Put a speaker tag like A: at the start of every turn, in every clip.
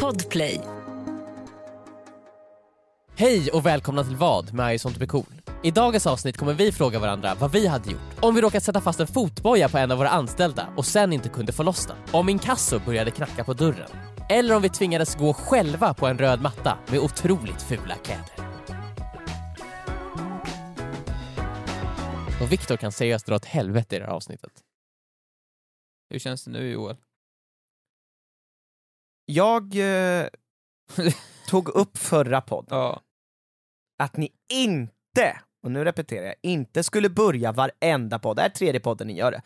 A: Podplay.
B: Hej och välkomna till vad med I sånt blir cool. I dagens avsnitt kommer vi fråga varandra vad vi hade gjort om vi råkat sätta fast en fotboja på en av våra anställda och sen inte kunde få loss den. Om inkasso började knacka på dörren. Eller om vi tvingades gå själva på en röd matta med otroligt fula kläder. Och Viktor kan seriöst dra åt helvete i det här avsnittet.
C: Hur känns det nu Joel?
D: Jag eh, tog upp förra podden
C: Ja.
D: att ni inte, och nu repeterar jag, inte skulle börja varenda podd, det här är tredje podden ni gör det,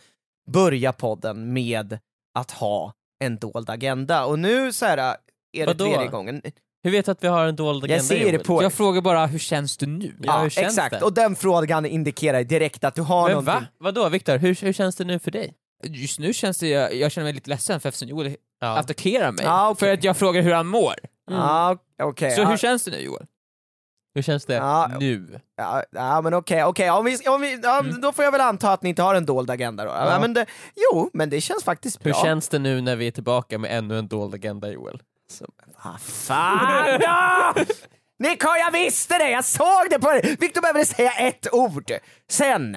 D: börja podden med att ha en dold agenda. Och nu så här eh, är det
B: Vadå?
D: tredje gången.
B: Hur vet du att vi har en dold agenda?
D: Jag ser det
B: Joel?
D: på
C: Jag frågar bara, hur känns det nu?
B: Ja, hur känns
D: exakt,
B: det?
D: och den frågan indikerar direkt att du har
B: Men
D: någonting.
B: va? Vadå Viktor, hur, hur känns det nu för dig?
C: Just nu känns det, jag, jag känner mig lite ledsen för eftersom Joel
B: Ja.
C: attackerar mig.
D: Ja, okej.
C: För att jag frågar hur han mår.
B: Mm.
D: Ah, okej.
C: Så
D: Ah,
C: hur känns det nu Joel?
B: Hur känns det
D: Ja.
B: nu?
D: Ja, ja men okej, okej. Om vi, om vi, ja,
C: Mm.
D: då får jag väl anta att ni inte har en dold agenda då. Ja.
B: Ja.
D: men det, jo, men det känns faktiskt
B: Hur
D: bra.
B: känns det nu när vi är tillbaka med ännu en dold agenda Joel?
D: Ah, fan då! Nico, jag visste det! Jag såg det på dig! Viktor behöver säga ett ord. Sen.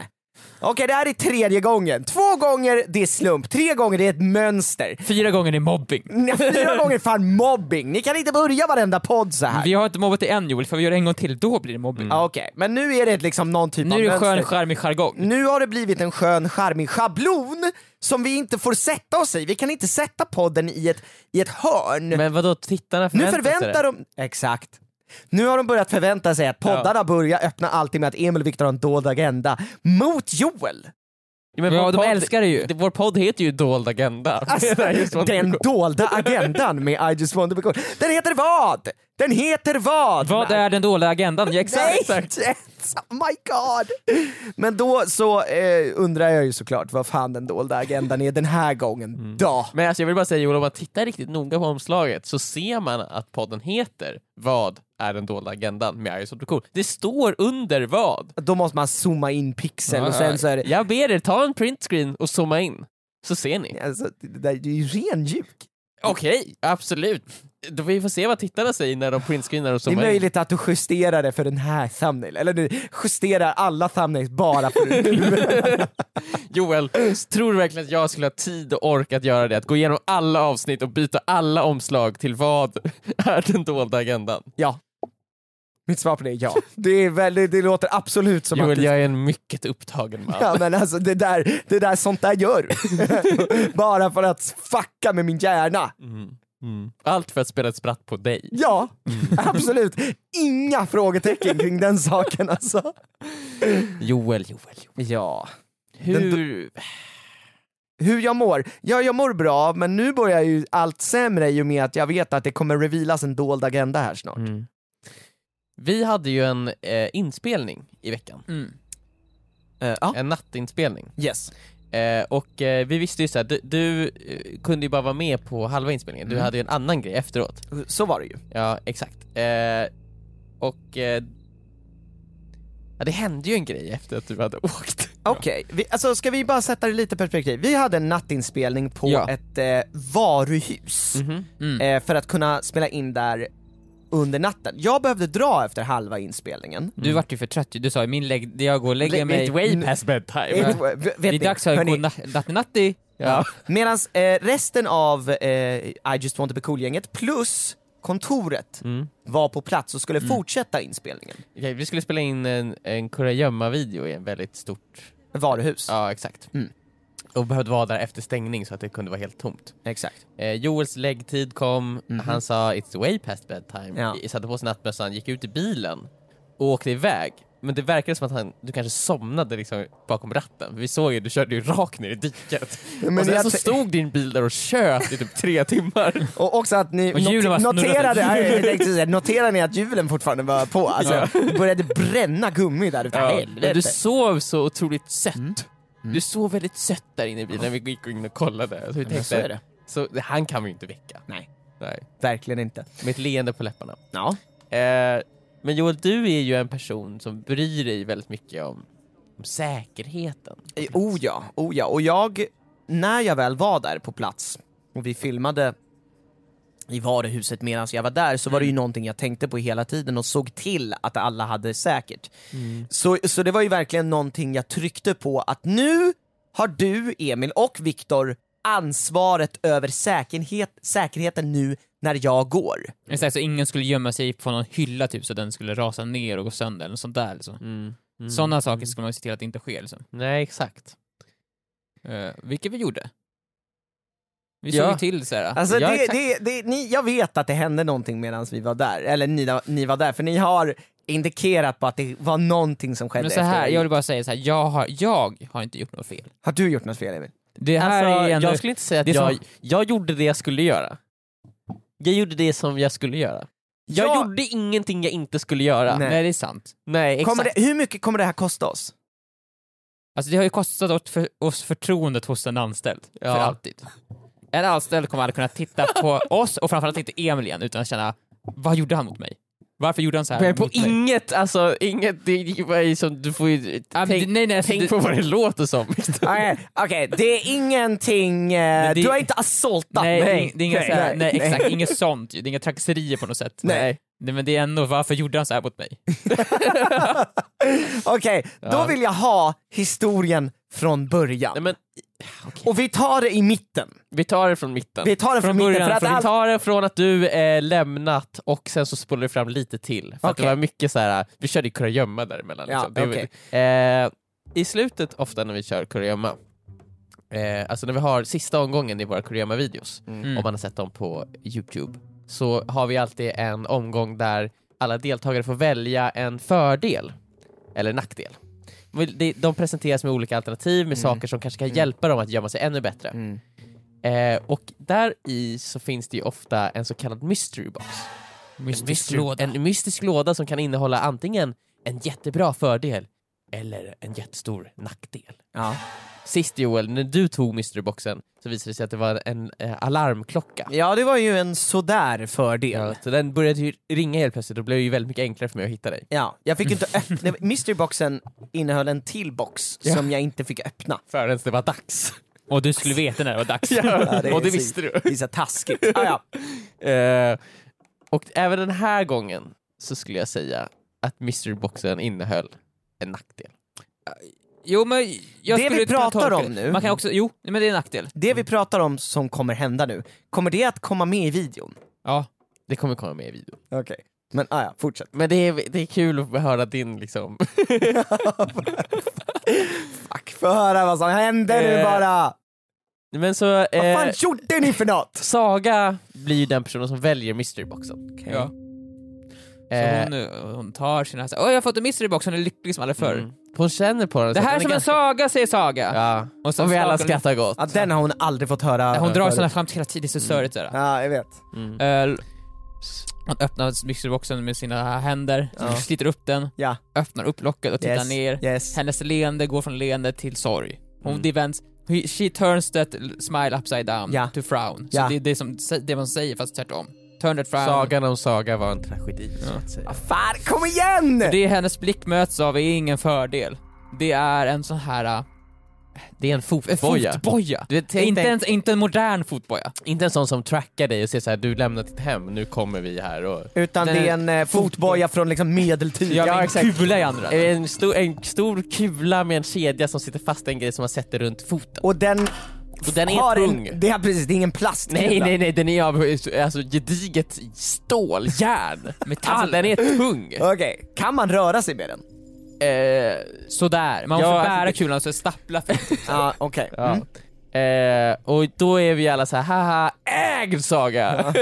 D: Okej, det här är tredje gången. Två gånger det är slump, tre gånger det är ett mönster.
C: Fyra gånger är mobbing.
D: Ni- Fyra gånger fan mobbing. Ni kan inte börja varenda podd så här.
C: Vi har inte mobbat dig än Joel, för vi gör det en gång till, då blir det mobbing.
B: Mm.
D: Ja, Okej, men nu är det liksom någon typ
C: Nu
D: av
C: är det
D: mönster.
C: skön charmig jargong.
D: nu har det blivit en skön charmig schablon som vi inte får sätta oss i. Vi kan inte sätta podden i ett, i ett hörn.
B: Men vadå, tittarna
D: nu
B: förväntar,
D: förväntar
B: sig
D: de... Exakt. Nu har de börjat förvänta sig att poddarna börjar öppna alltid med att Emil och Viktor har en dold agenda mot Joel.
B: det. men
C: Ja,
B: vår
C: de
B: podd-
C: älskar det ju.
B: det- Vår podd heter ju dold agenda.
D: Alltså,
B: Det är just vad-
D: den dolda agendan med I just want to be cool. Den heter vad? Den heter vad?
C: Vad är den dåliga agendan? Ja,
D: Nej!
C: exakt.
D: Oh my god! Men då så eh, undrar jag ju såklart vad fan den dolda agendan är den här gången då.
B: Men alltså, jag vill bara säga Joel, om man tittar riktigt noga på omslaget så ser man att podden heter Vad är den dolda agendan med Iris cool. Det står under vad.
D: Då måste man zooma in pixeln och sen så är det...
B: Jag ber er, ta en printscreen och zooma in, så ser ni.
D: Alltså, det, där, det är ju ren ljug.
B: Okej, absolut. Då får vi får se vad tittarna säger när de printscreenar och
D: Det är
B: zoomar in.
D: möjligt att du justerar det för den här thumbnail, eller du justerar alla thumbnails bara för
B: Joel, tror du verkligen att jag skulle ha tid och ork att göra det? Att gå igenom alla avsnitt och byta alla omslag till vad är den dolda agendan?
D: Ja. Mitt svar på det är ja. Det, är väldigt, det låter absolut som att...
B: Joel,
D: du-
B: jag är en mycket upptagen man.
D: Ja men alltså det där, det där, sånt där gör du. Bara för att fucka med min hjärna.
B: Mm. Mm. Allt för att spela ett spratt på dig.
D: Ja, absolut. Inga frågetecken kring den saken alltså.
B: Joel, Joel, Joel.
D: Ja.
B: Hur...
D: Hur jag mår? Ja, jag mår bra, men nu börjar ju allt sämre i och med att jag vet att det kommer revealas en dold agenda här snart.
B: Mm. Vi hade ju en eh, inspelning i veckan.
C: Mm.
D: Eh, ja.
B: En nattinspelning.
D: Yes.
B: Eh, och eh, vi visste ju såhär, du, du eh, kunde ju bara vara med på halva inspelningen, du
C: Mm.
B: hade ju en annan grej efteråt.
D: Så var det ju.
B: Ja, exakt. Eh, och... Eh, ja, det hände ju en grej efter att du hade åkt.
D: Okej, vi- alltså ska vi bara sätta det lite i perspektiv? Vi hade en nattinspelning på
C: Ja.
D: ett eh, varuhus
B: Mhm.
C: Mm.
D: eh, för att kunna spela in där under natten. Jag behövde dra efter halva inspelningen.
C: Du vart ju för trött ju. du sa ju min lägg, jag går och lägger
B: Lägg
C: mig.
B: mig way past bedtime.
D: Ett- Eh, v- vet
C: Det är
D: ni,
C: dags att
D: hörni,
C: gå natt-natti.
B: Ja.
D: Medan eh, resten av eh, I just want to be cool-gänget plus kontoret
B: Mm.
D: var på plats och skulle
C: Mm.
D: fortsätta inspelningen.
B: Okej, vi skulle spela in en, en kurragömma-video i en väldigt stort...
D: Varuhus.
B: Ja, exakt.
D: Mm.
B: Och behövde vara där efter stängning så att det kunde vara helt tomt.
D: Exakt.
B: Eh, Joels läggtid kom,
D: Mhm.
B: han sa “It's way past bedtime”,
D: Ja.
B: I- satte på sig nattmössan, gick ut i bilen och åkte iväg. Men det verkade som att han, du kanske somnade liksom bakom ratten, vi såg ju, du körde ju rakt ner i diket.
D: Men
B: och sen
D: jag
B: så
D: te-
B: stod din bil där och tjöt i typ tre timmar.
D: Och också att ni
C: Och hjulen
D: not-
C: var snurrade.
D: noterade, ja, jag tänkte säga, noterade ni att hjulen fortfarande var på? Alltså, Det började bränna gummi där ute.
B: Men
D: Helvete.
B: du sov så otroligt sött.
D: Mm.
B: Du sov väldigt sött där inne i bilen när vi gick in och kollade. Så vi
D: Men
B: tänkte,
D: så är det.
B: så han kan vi ju inte väcka.
D: Nej.
B: Nej.
D: Verkligen inte.
B: Med ett leende på läpparna.
D: Ja.
B: Eh, men Joel, du är ju en person som bryr dig väldigt mycket om, om säkerheten.
D: Eh, Oh ja, oh ja. Och jag, när jag väl var där på plats och vi filmade i varuhuset medan jag var där så var det ju någonting jag tänkte på hela tiden och såg till att alla hade säkert. Så, så det var ju verkligen någonting jag tryckte på att nu har du, Emil och Viktor ansvaret över säkerhet, säkerheten nu när jag går.
C: Exakt, så ingen skulle gömma sig på någon hylla typ så den skulle rasa ner och gå sönder eller sånt där liksom.
D: Mm.
C: Sådana saker skulle man se till att det inte sker liksom.
B: Mm. Nej, exakt.
C: Eh, vilket vi gjorde. Vi
B: Ja.
C: såg ju till så här.
D: Alltså,
B: Ja,
D: det,
B: exakt.
D: det, det, ni, jag vet att det hände någonting medan vi var där, eller ni, ni var där, för ni har indikerat på att det var någonting som skedde.
C: Men så här,
D: efter.
C: jag vill bara säga så här, jag har, jag har inte gjort något fel.
D: Har du gjort något fel Emil?
C: Det här
B: alltså,
C: är ju ändå...
B: jag skulle inte säga att
C: det är
B: jag,
C: som-
B: jag gjorde det jag skulle göra. Jag gjorde det som jag skulle göra. Jag
D: Ja.
B: gjorde ingenting jag inte skulle göra.
D: Nej.
C: Nej. det är sant.
B: Nej, exakt.
D: Kommer det, hur mycket kommer det här kosta oss?
C: Alltså det har ju kostat åt för, oss förtroendet hos en anställd,
B: Ja.
C: för alltid. En anställd kommer aldrig kunna titta på oss, och framförallt inte Emil igen, utan att känna, vad gjorde han mot mig? Varför gjorde han så här
B: Men på
C: mot mig?
B: inget, alltså inget, det det var ju som, du får ju
C: Ja, men
B: tänk,
C: det- nej, nej,
B: tänk
C: det-
B: på vad det låter som.
D: Okej, okej, det är ingenting, eh,
C: det-
D: du har inte assaultat
C: Nej,
D: mig.
C: det är inga,
D: Nej,
C: så här, nej,
D: nej,
C: exakt, inget sånt ju. Det är inga trakasserier på något sätt.
D: Nej.
C: Nej, men det är ändå, varför gjorde han så här mot mig?
D: Okej, då vill jag ha historien från början.
B: Nej, men,
D: Och vi tar det i mitten.
B: vi tar det från mitten.
D: Vi tar det från, mitten
C: början,
D: för att
B: För vi
D: allt-
B: tar det från att du eh, lämnat och sen så spolar du fram lite till. För att det
D: Okej.
B: var mycket så här. vi körde ju kurragömma däremellan.
D: Ja,
B: liksom. det, eh, I slutet ofta när vi kör kurragömma, eh, alltså när vi har sista omgången i våra kurragömma-videos,
C: Mm.
B: om man har sett dem på Youtube, så har vi alltid en omgång där alla deltagare får välja en fördel eller nackdel. Men det- De presenteras med olika alternativ med saker som kanske kan hjälpa dem att gömma sig ännu bättre.
D: Mm.
B: Eh, och där i så finns det ju ofta en så kallad mystery box.
C: Mystisk låda.
B: En mystisk låda som kan innehålla antingen en jättebra fördel eller en jättestor nackdel.
D: Ja.
B: Sist Joel, när du tog mystery boxen så visade det sig att det var en eh, alarmklocka.
D: ja, det var ju en sådär fördel.
B: Ja, så den började ju ringa helt plötsligt och blev ju väldigt mycket enklare för mig att hitta dig.
D: Ja, jag fick inte öppna, mysteryboxen innehöll en till box
B: Ja.
D: som jag inte fick öppna.
B: Förrän det var dags.
C: Och du skulle veta när det var dags.
D: Ja, är
B: och det
D: så-
B: visste du.
D: Det är så taskigt. Ah, ja.
B: Eh, och även den här gången så skulle jag säga att mystery boxen innehöll en nackdel.
C: Jo, men jag
D: Det
C: skulle
D: vi
C: kunna
D: pratar
C: tolka
D: om
C: det.
D: nu-
C: Man kan också, jo, men det är en nackdel.
D: Det vi pratar om som kommer hända nu, kommer det att komma med i videon?
C: Ja.
B: Det kommer komma med i videon.
D: Okej. Men ah, ja, fortsätt.
B: Men det är, det är kul att höra din liksom...
D: Fuck, få höra vad som hände nu
B: Eh,
D: bara!
B: Men så...
D: Vad
B: Eh,
D: fan gjorde ni för något?
B: Saga blir ju den personen som väljer mysteryboxen.
C: ja. Så
B: Eh,
C: hon, eh, hon tar sina... Åh, jag har fått en mystery box, hon är lycklig som aldrig förr.
B: mm. Hon känner på den.
C: Det
B: så
C: här är
B: att den
C: som en
B: ganska-
C: saga, säger Saga!
B: Ja.
C: Och så
B: Som vi alla
C: skakar hon-
B: skrattar gott.
D: Ja, den har hon aldrig fått höra.
C: Hon drar
D: förut.
C: sådana skämt hela tiden, det är så
B: Mm.
C: störigt. sådär.
D: Ja, jag vet.
B: Ah. Eh,
C: Öl. Hon öppnar mysteryboxen med sina händer,
D: Ja.
C: sliter upp den,
D: Ja.
C: öppnar upp locket och tittar
D: yes.
C: ner.
D: Yes.
C: Hennes leende går från leende till sorg. Hon
B: Mm.
C: mm. vänds, he- she turns that smile upside down
D: Ja.
C: to frown.
D: Ja.
C: Så det är det, som, det man säger fast tvärtom. Turn that frown.
B: Sagan om Saga var en tragedi, så
C: Ja.
B: att säga.
D: Ah, fan, kom igen!
C: Det hennes blick möts av är ingen fördel. Det är en sån här... äh,
B: Det är en fotboja.
C: Fotboja. fotboja.
B: Du, vet, tänk
C: inte,
B: dig-
C: ens, inte en modern fotboja.
B: Inte en sån som trackar dig och säger så här: du lämnar ditt hem, nu kommer vi här och...
D: Utan
C: Den-
D: det är en eh, fotboja från liksom medeltid.
C: Ja, med
B: exakt.
C: en kula i andra.
B: En stor, en stor kula med en kedja som sitter fast i en grej som man sätter runt foten.
D: Och den
B: Och den är
D: har
B: tung.
D: en... Det är precis, det är ingen plast.
B: Nej nej nej, den är av alltså, gediget stål, järn, metall. Alltså den är tung.
D: Okej, kan man röra sig med den?
B: Eh,
C: Sådär, man
B: Ja,
C: får
B: alltså
C: bära
B: det-
C: kulan så stappla för
D: Ja, okej.
B: ja.
D: Mm.
B: eh, och då är vi alla så här, haha, ägd Saga!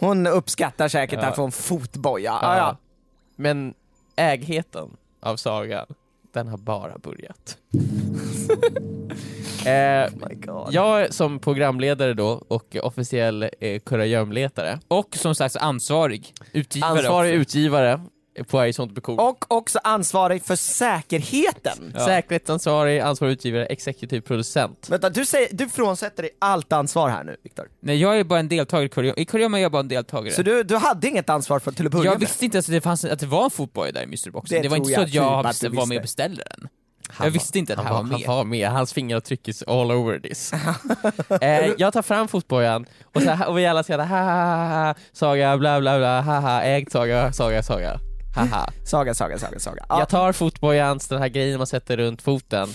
D: Hon uppskattar säkert att få en fotboja. Ah, ja.
B: Men ägheten av Saga, den har bara börjat. eh,
D: Oh My God.
B: jag som programledare då och officiell eh, kurragömletare,
C: Och som sagt ansvarig utgivare
B: ansvarig
C: också.
B: utgivare på Arizont Bekor.
D: Och också ansvarig för säkerheten.
B: Ja. Säkerhetsansvarig, ansvarig utgivare, exekutiv producent.
D: Vänta, du, säger, du frånsätter dig allt ansvar här nu, Viktor.
C: Nej jag är bara en deltagare i Kuriomo, i Kuriomo är jag bara en deltagare.
D: Så du, du hade inget ansvar för till att börja
C: jag
D: med?
C: visste inte ens att det, fanns, att det var en fotboja där i Mystery Boxen.
D: Det
C: det var
D: tror
C: inte så att
D: jag
C: jag
D: typ att du
C: var med
D: visste.
C: och beställde den. jag visste inte att det
B: Han
C: här
B: var,
C: var
B: han
C: med.
B: var med, hans fingeravtryck is all over this. eh, jag tar fram fotbojan och, så här, och vi alla skrattar ha ha ha ha, ha Saga bla bla bla ha ha ägt Saga, Saga, Saga. Ha, ha.
D: Saga, saga, saga, saga. Ja.
B: Jag tar fotbojans, den här grejen man sätter runt foten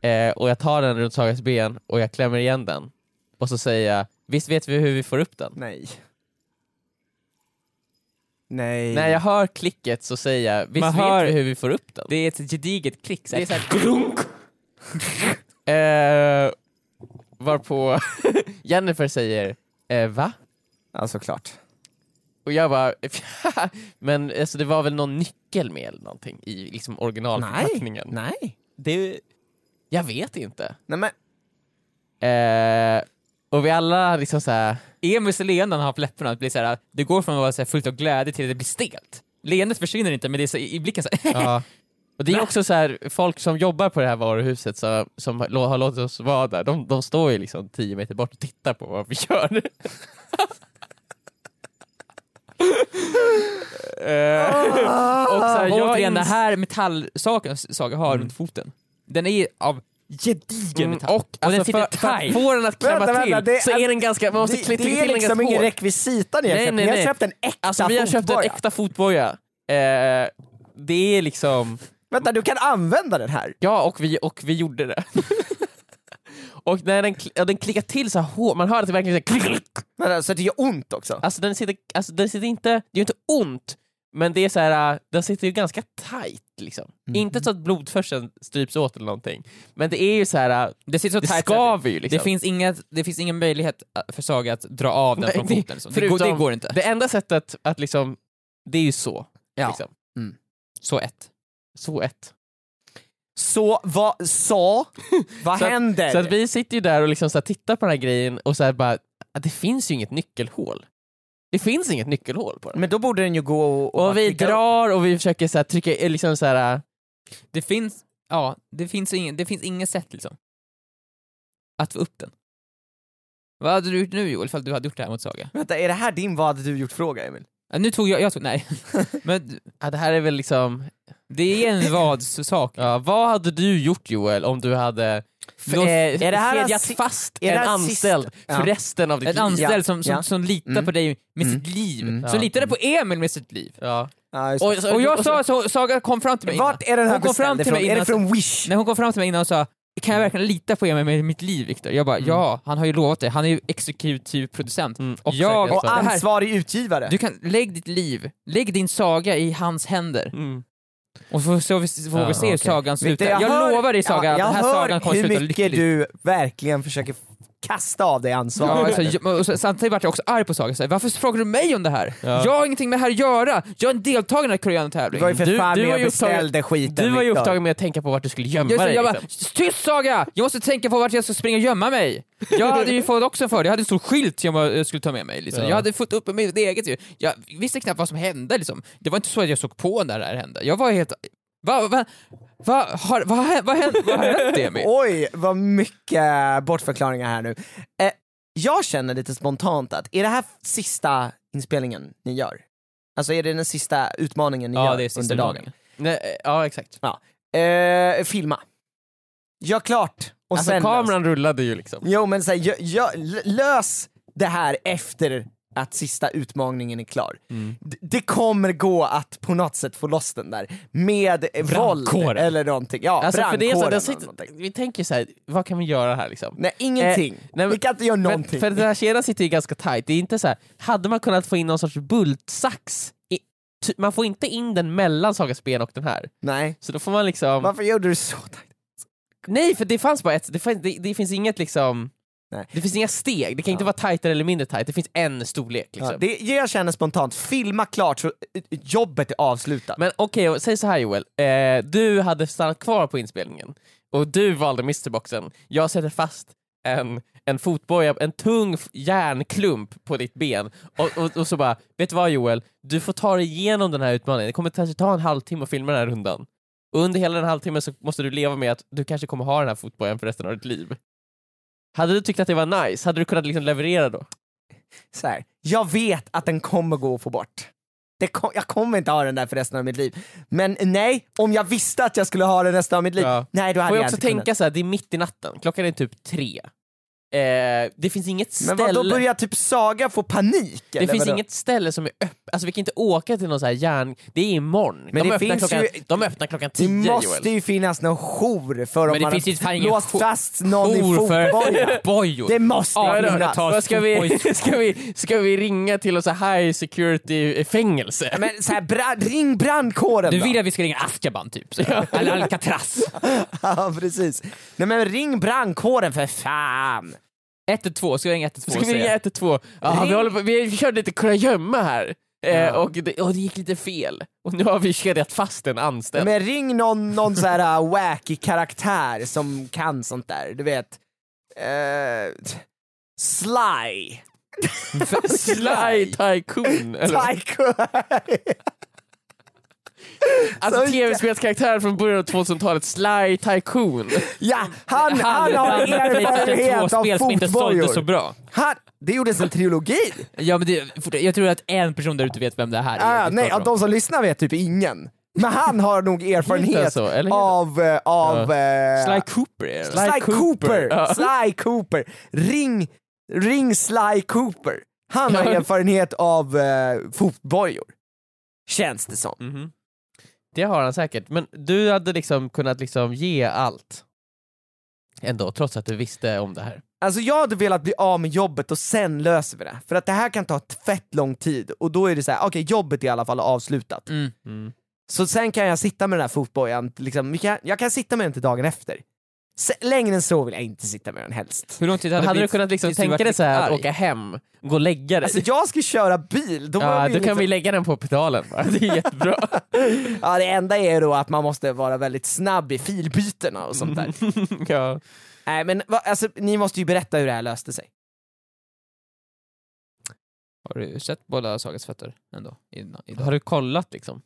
B: eh, och jag tar den runt Sagas ben och jag klämmer igen den. Och så säger jag, visst vet vi hur vi får upp den?
D: Nej. Nej.
B: När jag hör klicket så säger jag, visst
C: Man
B: vet
C: hör-
B: vi hur vi får upp den?
C: Det är ett gediget klick. Så
B: Det är
C: här.
B: så här, grunk! eh, varpå Jennifer säger, eh, va?
D: Ja, såklart.
B: Och jag bara, men alltså, det var väl någon nyckel med eller någonting i liksom originalförpackningen?
D: Nej.
B: Det, jag vet inte.
D: Nej men,
B: Eh, och vi alla liksom så här,
C: Emils leende när han har på läpparna det blir så här, det går från att vara så här fullt av glädje till att det blir stelt. Leendet försvinner inte men det är så, i i blicken så här,
B: ja. Och det är också så här, folk som jobbar på det här varuhuset så, som har- har låtit oss vara där, de, de står ju liksom tio meter bort och tittar på vad vi gör.
C: Och så här,
B: jag
C: återigen,
B: ins-
C: den här metallsaken Saga har runt foten, den är av gedigen
B: Mm,
C: metall.
B: och alltså,
C: den
B: för,
C: sitter
B: för
C: tight.
B: att få den att klämma
D: Vänta, vänta,
B: till
D: det-
B: så är den ganska, man måste
D: det,
B: kli- trycka
D: det
B: till
D: är
B: den
D: liksom
B: ganska
D: ingen
B: hårt.
D: rekvisita ni har
B: Nej,
D: köpt,
B: nej,
D: ni har
B: nej.
D: köpt en äkta
B: Alltså vi har köpt en
D: fotboja.
B: äkta fotboja. Eh, det är liksom,
D: Vänta, du kan använda den här.
B: ja och vi, och vi gjorde det. och när den, kli- ja, den klickar till så här hårt, man hör att det verkligen så här klick, klick.
D: Vänta, så det gör ont också.
B: Alltså den sitter, alltså den sitter inte, det är ju inte ont, men det är så här, äh, den sitter ju ganska tight liksom. Inte så att blodförseln stryps åt eller någonting, men det är ju så här, äh,
C: Det sitter så
B: det
C: tajt så att
B: skaver ju liksom.
C: det, finns inget, det finns ingen möjlighet att- för Saga att dra av den
B: Nej,
C: från
B: det-
C: foten. Så. Det, går,
B: förutom-
C: det går inte.
B: Det enda sättet att liksom, det är ju så.
C: Ja.
B: Liksom.
C: Så ett.
B: Så ett.
D: Så vad sa? Vad
B: Så att-
D: händer?
B: Så att vi sitter ju där och liksom så här tittar på den här grejen och så här bara, "Ah, det finns ju inget nyckelhål. Det finns inget nyckelhål på den.
D: Men då borde den ju gå och... bara
B: Och vi
D: klicka
B: drar och vi försöker så här trycka, eh, liksom så här, äh,
C: Det finns, ja, det finns, ingen, det finns inget sätt liksom. Att få upp den. Vad hade du gjort nu Joel, ifall du hade gjort det här mot Saga?
D: Vänta, är det här din vad hade du gjort fråga Emil?
C: Ja, Nu tog jag, jag tog, nej. Men
B: ja, det här är väl liksom,
C: det är en vadsak.
B: ja, vad hade du gjort Joel om du hade
D: eh,
B: eh,
D: är det här
B: kedjat
D: rasi-
B: fast
D: är det
B: en
D: här
B: anställd
D: sist-
B: för
D: Ja.
B: resten av ditt
C: En
B: liv?
C: anställd
D: Ja,
C: som, som,
D: ja.
C: som litar
D: Mm.
C: på dig med
D: Mm.
C: sitt liv.
D: Mm.
C: Som
B: Ja.
C: litade på Emil med sitt liv.
B: Ja.
D: Ja, just det.
B: Och,
C: Och jag sa, så, Saga kom fram till mig innan.
D: Vart är den här
C: Hon kom fram
D: beställd
C: till mig
D: ifrån? Är det
C: innan-
D: från Wish?
C: När hon kom fram till mig innan och sa kan jag verkligen lita på Emil med mitt liv Viktor? Jag bara ja, han har ju lovat det. Han är ju exekutiv typ producent.
B: Mm, och
C: Och jag,
B: säkerhetsvakt.
C: och
D: Och
C: det här,
D: ansvarig utgivare?
C: du kan, lägg ditt liv, lägg din saga i hans händer.
B: Mm.
C: Och så får vi, så får
B: Ja,
C: vi se hur
B: Ah, okej.
C: sagan slutar.
D: Victor,
C: Jag,
D: hör-
C: lovar dig Saga
D: Ja,
C: att
D: jag
C: den här
D: hör
C: sagan kommer
D: hur
C: sluta
D: mycket
C: lyckligt.
D: du verkligen försöker kasta av dig
C: Ja,
D: ansvaret.
C: alltså, jag, och så- samtidigt vart jag också arg på Saga, så här, varför frågar du mig om det här?
B: Ja.
C: Jag har ingenting med det här att göra, jag är en deltagare i den här
D: du
C: korean-tävlingen.
D: var ju för
B: du-
D: fan
B: du
D: med
B: var
D: och
B: ju upptagen-
D: beställde skiten
B: Du var ju
D: Victor.
B: upptagen med att tänka på vart du skulle gömma
C: Jag,
B: dig.
C: jag bara,
B: liksom.
C: tyst Saga! Jag måste tänka på vart jag ska springa och gömma mig. Jag hade ju fått också för det. jag hade en stor skylt som jag eh, skulle ta med mig. Liksom.
B: Ja.
C: Jag hade fått upp med mitt eget ju. Jag visste knappt vad som hände liksom. Det var inte så att jag såg på när det här hände. Jag var helt... Va, va, va, har, vad har vad har hänt? Vad har hänt Emil?
D: Oj, vad mycket bortförklaringar här nu. Eh, jag känner lite spontant att, är det här sista inspelningen ni gör? Alltså är det den sista utmaningen ni gör under dagen?
B: Nej, ja exakt.
D: Eh, filma. Gör klart och
B: Alltså
D: sen
B: kameran rullade ju liksom.
D: Lös. Jo men så här, gö- gö- l- lös det här efter att sista utmaningen är klar.
B: Mm.
D: D- det kommer gå att på något sätt få loss den där med eh, våld
B: Brandkåren.
D: eller någonting. Ja,
B: Alltså, för det är så,
D: brandkåren
B: att den
D: eller
B: sitter,
D: någonting.
B: vi tänker så här, vad kan vi göra här liksom?
D: Nej ingenting.
B: Eh, nej, men-
D: Vi kan inte göra
B: Men,
D: någonting.
B: för den här kedjan sitter ju ganska tight. Det är inte så här, hade man kunnat få in någon sorts bultsax, i, ty, man får inte in den mellan Sagas ben och den här.
D: Nej.
B: Så då får man liksom...
D: Varför gjorde du så? tajt?
B: Nej, för det fanns bara ett, det, fanns, det, det finns inget liksom...
D: Nej.
B: Det finns inga steg, det kan inte vara tajtare eller mindre tajt, det finns en storlek. Liksom.
D: Ja, det jag känner spontant, filma klart så eh, jobbet är avslutat.
B: Men okej, och säg så här Joel. Eh, du hade stannat kvar på inspelningen och du valde Mr-boxen. Jag sätter fast en, en fotboja, en tung f- järnklump på ditt ben och, och, och så bara, vet du vad Joel? Du får ta dig igenom den här utmaningen. Det kommer kanske ta en halvtimme att filma den här rundan. Och under hela den halvtimmen så måste du leva med att du kanske kommer ha den här fotbojan för resten av ditt liv. Hade du tyckt att det var nice? Hade du kunnat liksom leverera då?
D: så här, jag vet att den kommer gå att få bort. Det kom, jag kommer inte ha den där för resten av mitt liv. Men nej, om jag visste att jag skulle ha den resten av mitt liv,
C: Ja.
D: nej då hade
B: Får jag
D: jag
B: också
D: inte kunnat.
B: tänka så här, det är mitt i natten, klockan är typ tre. Eh, det finns inget
D: Men
B: ställe...
D: vad, då börjar typ Saga få panik?
B: Det
D: eller
B: finns
D: vadå?
B: inget ställe som är öppet, alltså vi kan inte åka till någon så här järn... Det är imorgon.
D: Men
B: de,
D: det
B: öppnar
D: finns
B: klockan,
D: ju-
B: de öppnar klockan
D: Det
B: tio
D: måste
B: Joel.
D: ju finnas någon jour för om
C: Men det
D: man
C: finns ju fan
D: har
C: ingen
D: låst
C: jour-
D: fast någon i
B: Jour för-
D: fotboja.
C: Bojor!
D: Det måste
B: Ja,
D: ju
B: det-
D: finnas.
B: Vad ska, vi, ska, vi, ska vi ringa till någon så här high security fängelse?
D: Men så här, bra, ring brandkåren
C: Du
D: då.
C: vill att vi ska ringa Azkaban typ, så. eller Alcatraz.
D: Ja precis. Nej men ring brandkåren för fan!
C: 112, ska vi ringa 112
B: Ska vi ringa 112? Ja, vi,
D: Ring.
B: håller på, vi körde lite kurragömma här eh, och, det, och det gick lite fel. Och nu har vi kedjat fast en anställd.
D: Men ring någon, någon så här uh, wacky karaktär som kan sånt där, du vet. Uh, Sly.
B: Sly Tycoon. Eller,
D: Tycoon.
B: alltså
D: så-
B: tv-spelskaraktär från början av 2000-talet, Sly Tycoon.
D: ja, han, han har erfarenhet av
C: spel som inte sålde så
D: fotbojor.
C: bra.
D: Han, det gjordes en trilogi.
C: Ja, men det, fort- jag tror att en person där ute vet vem det här är.
D: Ah,
C: Vi
D: nej,
C: pratar
D: av
C: om.
D: de som lyssnar vet typ ingen. Men han har nog erfarenhet
B: så, eller heter-
D: av, eh, av eh,
C: Sly Cooper är det.
D: Sly, Cooper!
B: Ja.
D: Sly Cooper! Ring, ring Sly Cooper! Han har
B: Ja.
D: erfarenhet av eh, fotbojor. Känns det som.
B: Mm. Det har han säkert, men du hade liksom kunnat liksom ge allt. Ändå, trots att du visste om det här.
D: Alltså jag hade velat bli av med jobbet och sen löser vi det. För att det här kan ta ett fett lång tid och då är det så här: okej jobbet är i alla fall avslutat.
C: Mm.
B: Mm.
D: Så sen kan jag sitta med den här fotbojan, liksom, vi kan, jag kan sitta med den till dagen efter. Se- längre än så vill jag inte sitta med den helst.
C: Hur lång tid hade,
B: Hade du
C: blivit
B: kunnat liksom
C: tills du
B: tänka
C: vart
B: dig så här att
C: arg?
B: åka hem, gå och lägga dig?
D: Alltså jag ska köra bil, då behöver
B: ja,
D: jag
B: då
D: ju
B: kan
D: liksom-
B: vi lägga den på pedalen bara. det är jättebra.
D: Ja, det enda är då att man måste vara väldigt snabb i filbytena och sånt där.
B: ja.
D: Nej men va, alltså, ni måste ju berätta hur det här löste sig.
C: Har du sett båda Sagas fötter ändå? Innan, idag?
B: Har du kollat liksom?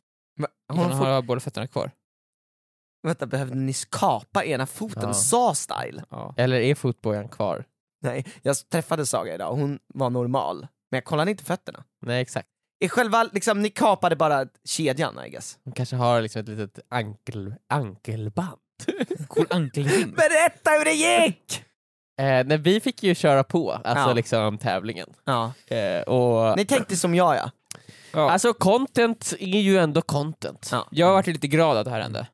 D: Hon
C: Hon
D: får,
C: har båda fötterna kvar.
D: vänta, behövde ni skapa ena foten?
B: Ja.
D: Sa-style?
C: Ja.
B: Eller är fotbojan kvar?
D: Nej, jag träffade Saga idag och hon var normal. Men jag kollade inte fötterna.
B: Nej exakt.
D: I själva, liksom, ni kapade bara kedjan I guess.
B: Hon kanske har liksom ett litet ankel, ankelband.
C: Cool ankelring.
D: Berätta hur det gick!
B: Eh, nej, vi fick ju köra på, alltså
D: Ja.
B: liksom tävlingen.
D: Ja.
B: Eh, och,
D: Ni tänkte som jag ja.
C: Ja.
B: alltså content är ju ändå content.
D: Ja.
C: Jag har varit lite glad att det här hände.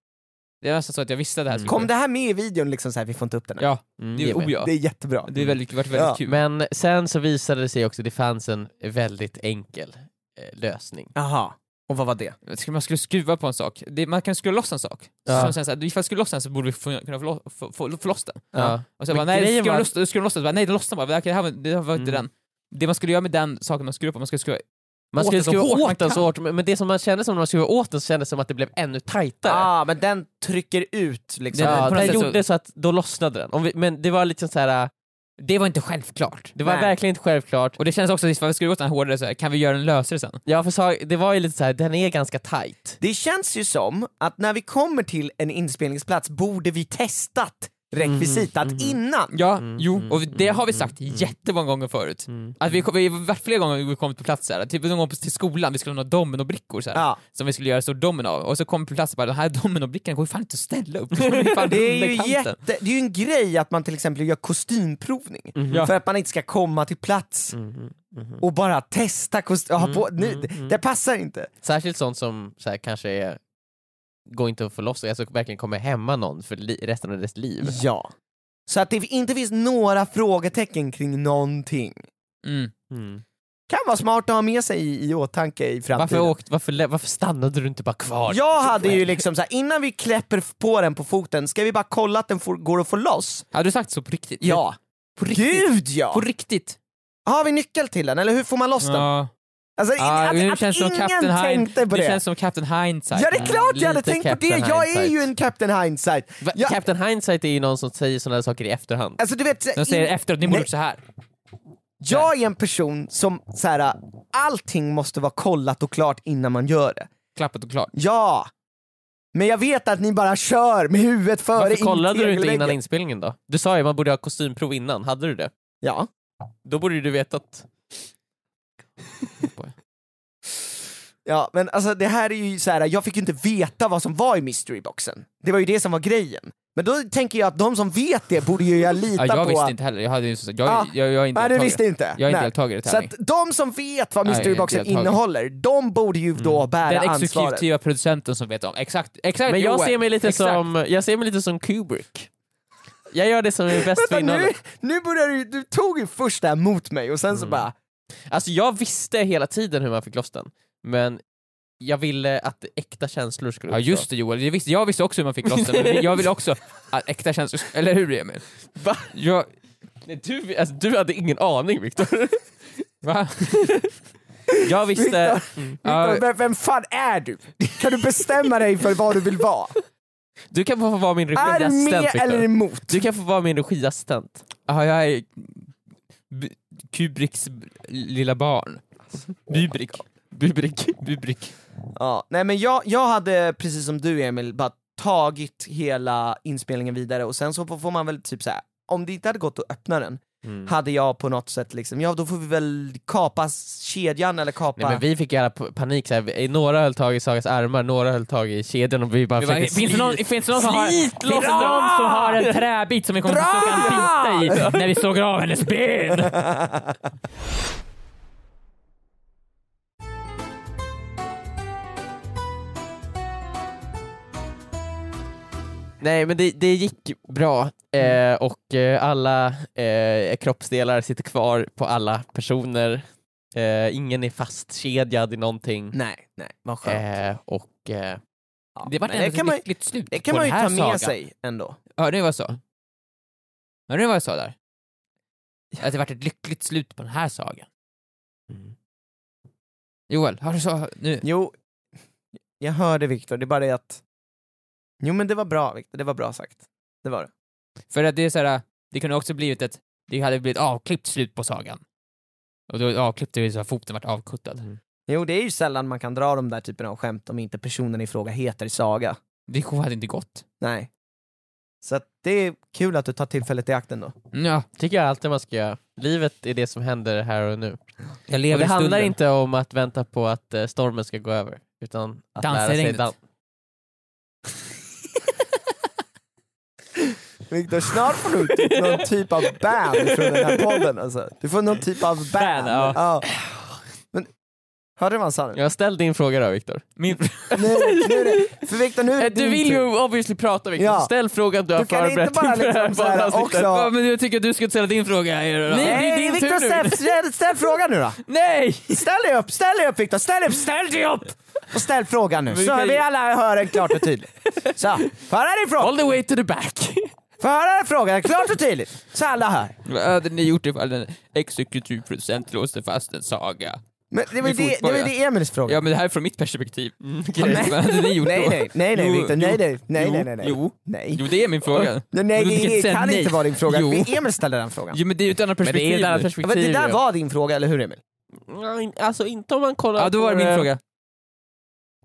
C: Det är nästan så att jag visste att det här skulle
D: Kom det här med i videon liksom såhär, vi får inte upp den här.
C: Ja,
B: Mm,
C: det är
B: Jimmy.
C: oh ja.
D: Det är jättebra.
C: Det är väldigt, varit väldigt
D: Ja.
C: kul.
B: Men sen så visade det sig också att det fanns en väldigt enkel eh, lösning.
D: Jaha, och vad var det?
C: Skulle Man skulle skruva på en sak. Det, man kan skruva loss en sak.
B: Ja.
C: Som sen så här, ifall jag skruvar loss den så borde vi få, kunna få, lo- få, få, få loss den.
B: Ja.
C: Och så
B: Men
C: bara, nej,
B: grejen
C: skruva
B: var-
C: loss, skruva loss den. Så Bara, nej, den lossnade bara. Det, här, var- det här var inte
B: Mm.
C: den. Det man skulle göra med den saken man skruvar på, man skulle skruva...
B: Man
C: Åt
B: skulle
C: den så
B: skruva
C: hårt man
B: åt den
C: kan.
B: så hårt, men men det som man kände som när man skruvade åt den så kändes det som att det blev ännu tajtare.
D: Ja, ah, men den trycker ut liksom.
C: Den-
B: ja,
C: på något
B: den
C: sätt så-
B: gjorde så att då lossnade den. Om vi, men det var liksom så här.
C: Det var inte självklart.
B: det var
D: Nej.
B: verkligen inte självklart.
C: Och det känns också, att ifall vi skruvar åt den här hårdare så här, kan vi göra den lösare sen?
B: Ja, för sa, det var ju lite så här, den är ganska tight.
D: Det känns ju som att när vi kommer till en inspelningsplats borde vi testat rekvisitat innan.
C: Ja,
B: Mm.
C: Mm. jo, och det har vi sagt jättemånga gånger förut. Att vi, kom- vi har varit flera gånger vi kommit på plats här. typ någon gång på- till skolan, vi skulle ha några dominobrickor så här,
D: Ja.
C: som vi skulle göra stor domino av, och så kom vi på plats och bara den här dominobrickan går ju fan inte att ställa upp. Den går fan
D: Det är,
C: under
D: ju
C: kanten."
D: jätte, det är ju en grej att man till exempel gör kostymprovning
C: Ja.
D: för att man inte ska komma till plats
C: Mhm.
D: och bara testa kostym. ha på, nu, det, det passar inte.
B: Särskilt sånt som så här, kanske är, går inte att få loss, alltså verkligen kommer hämma någon för li, resten av dess liv.
D: Ja. Så att det inte finns några frågetecken kring någonting.
C: Mm.
D: Kan vara smart att ha med sig i, i åtanke i framtiden.
B: Varför, åkt, varför, lä- varför stannade du inte bara kvar?
D: Jag hade ju liksom såhär, innan vi kläpper på den på foten, ska vi bara kolla att den får, går att få loss?
C: Har du sagt så på riktigt?
D: Ja.
C: På riktigt?
D: Gud ja!
C: På riktigt?
D: Har vi nyckel till den, eller hur får man loss den?
C: Ja.
D: Alltså, in,
C: Ah,
D: att,
C: nu
D: att
C: känns det
D: ingen
C: som Captain Hind,
D: tänkte på
C: det
D: det!
C: känns som Captain Hindsight. Mm.
D: Ja det är klart jag hade
B: Lite
D: tänkt på det,
B: Captain
D: jag är
B: Hindsight.
D: ju en Captain Hindsight!
B: Va-
D: Ja.
B: Captain Hindsight är ju någon som säger sådana saker i efterhand.
D: Alltså du vet, så här,
C: De säger
D: in,
C: efteråt, ni
D: Nej.
C: borde gjort så här.
D: jag är en person som såhär, allting måste vara kollat och klart innan man gör det.
C: Klappat och klart.
D: Ja! Men jag vet att ni bara kör med huvudet före
B: Varför
D: in
B: kollade du inte innan
D: tegelväggen.
B: inspelningen då? Du sa ju att man borde ha kostymprov innan, hade du det?
D: Ja.
B: Då borde ju du vetat.
D: Ja, men alltså det här är ju så här. jag fick ju inte veta vad som var i mysteryboxen. Det var ju det som var grejen. Men då tänker jag att de som vet det borde ju jag lita
C: Ja, jag
D: på.
C: visste
D: att-
C: inte heller. Jag, hade ju, så- jag,
D: Ja.
C: jag, jag är inte
D: Nej, du
C: deltagare.
D: visste inte.
C: Jag är inte
D: Nej.
C: deltagare i
D: Så
C: tävling.
D: att de som vet vad mysteryboxen
C: deltagare.
D: innehåller, de borde ju då bära
C: Mm. Den
D: ansvaret.
C: exekutiva producenten som vet om. Exakt, exakt
B: Men jag
C: Joel.
B: ser mig lite
C: exakt.
B: som, jag ser mig lite som Kubrick. Jag gör det som är bäst för
D: Vänta nu,
B: innehållet.
D: nu börjar du, du tog ju först det här mot mig och sen
C: Mm.
D: så bara,
B: Alltså jag visste hela tiden hur man fick loss den, men jag ville att äkta känslor skulle
C: Ja just det Joel, jag visste, jag visste också hur man fick loss den, men jag vill också att äkta känslor, eller hur Emil?
B: Va?
C: Jag,
B: Nej, du, alltså, du hade ingen aning Viktor.
C: va?
B: Jag visste...
C: Ja,
D: vem, vem fan är du? Kan du bestämma dig för vad du vill vara?
B: Du kan få vara min
D: Är du med
B: regiassistent
D: eller
B: Viktor.
D: emot?
B: Du kan få vara min regiassistent.
C: ja, jag är B- Kubricks b- lilla barn. Bubrik. Bubrik. Bubrik.
D: Ja, nej men jag, jag hade precis som du Emil bara tagit hela inspelningen vidare och sen så får- får man väl typ så här. om det inte hade gått att öppna den
C: Mm.
D: hade jag på något sätt liksom, ja då får vi väl kapa kedjan eller kapa...
B: Nej, men vi fick jävla p- panik, så här. Vi- några höll tag i Sagas armar, några höll tag i kedjan och vi bara
C: Bara,
B: försökte
C: Finns det någon, finns det någon, som, har, finns
B: Slit
C: det
B: loss
C: någon som har en träbit som vi kommer att försöka bita i när vi sågar av hennes ben?
B: Nej men det, det gick bra eh,
C: Mm.
B: och eh, alla eh, kroppsdelar sitter kvar på alla personer. Eh, ingen är fastkedjad i någonting.
D: Nej, nej, vad skönt.
B: Eh, och eh,
D: Ja,
C: Det var
D: men det
C: ändå ett
D: kan man,
C: lyckligt slut
D: det kan
C: på
D: man ju
C: den
D: ta
C: här
D: med
C: sagan.
D: sig ändå.
C: Hörde ni vad jag sa? Hörde ni vad jag sa där? Att det varit ett lyckligt slut på den här sagan.
B: Mm.
C: Joel, har du så nu?
D: Jo, jag hörde Viktor, det är bara det att... Jo men det var bra Viktor, det var bra sagt. Det var det.
C: För att det är så här, det kunde också blivit ett, det hade blivit avklippt slut på sagan. Och då avklippte vi så att foten vart avkuttad.
D: Jo det är ju sällan man kan dra de där typen av skämt om inte personen i fråga heter Saga.
C: Det hade inte gått.
D: Nej. Så att det är kul att du tar tillfället i akten då.
C: Ja,
B: tycker jag alltid man ska göra. Livet är det som händer här och nu.
C: jag
B: Och
C: lever
B: det
C: i
B: handlar
C: stunden.
B: inte om att vänta på att eh, stormen ska gå över, utan att
C: Dansa i
B: lära sig
C: regnet.
B: dans.
D: Viktor, snart får du typ någon typ av ban från den här podden alltså. Du får någon typ av ban.
C: Ban, ja.
D: Men, hörde du vad han sa nu?
B: Jag ställde din fråga då Viktor.
C: Min...
D: nu, är det- nu är det, för Viktor nu är det
B: Äh, Eh, Du
D: din
B: vill
D: tur.
B: ju obviously prata Viktor,
D: Ja.
B: ställ frågan du har
D: Du kan inte
B: förberett
D: bara
B: inför det här
D: liksom såhär
B: poddavsnittet.
D: också...
C: Ja, men jag tycker att du ska ställa din fråga. Här, då.
B: Nej, det är
D: Nej
B: din
D: Viktor,
B: tur nu.
D: ställ, ställ, ställ frågan nu då!
C: Nej!
D: Ställ dig upp, ställ dig upp Viktor, ställ dig upp, ställ dig upp! Och ställ frågan nu,
B: vi
D: så
B: kan ju-
D: vi alla hör den klart och tydligt. Så, få höra din fråga,
B: All the way to the back!
D: få höra din fråga klart och tydligt, så alla hör.
C: Vad hade ni gjort ifall en exekutiv producent låste fast en saga?
D: Men det var
C: Med
D: ju det, det,
C: fotboll,
D: var ju
C: ja.
D: det Emils fråga.
C: Ja men det här är från mitt perspektiv.
B: okej.
C: Vad hade ni gjort
D: nej,
C: då?
D: nej, nej, nej,
C: Jo,
D: Viktor, nej,
C: jo,
D: nej, nej,
C: jo,
D: nej, nej, nej.
C: Jo,
D: Nej,
C: jo det är min fråga.
D: nej, nej
C: Men du
D: det,
C: säga
D: kan
C: nej.
D: inte vara din fråga.
C: Jo.
D: Det- Emil ställde den frågan.
C: Jo men det är ju ett annat
B: Men det
C: perspektiv.
B: är ett annat
C: nu.
D: Ja, men det
B: perspektiv
D: där
B: ju.
D: var din fråga, eller hur Emil?
B: Ja, in- Alltså inte om man kollar
C: Ja då var det
B: på,
C: min
B: eh,
C: fråga.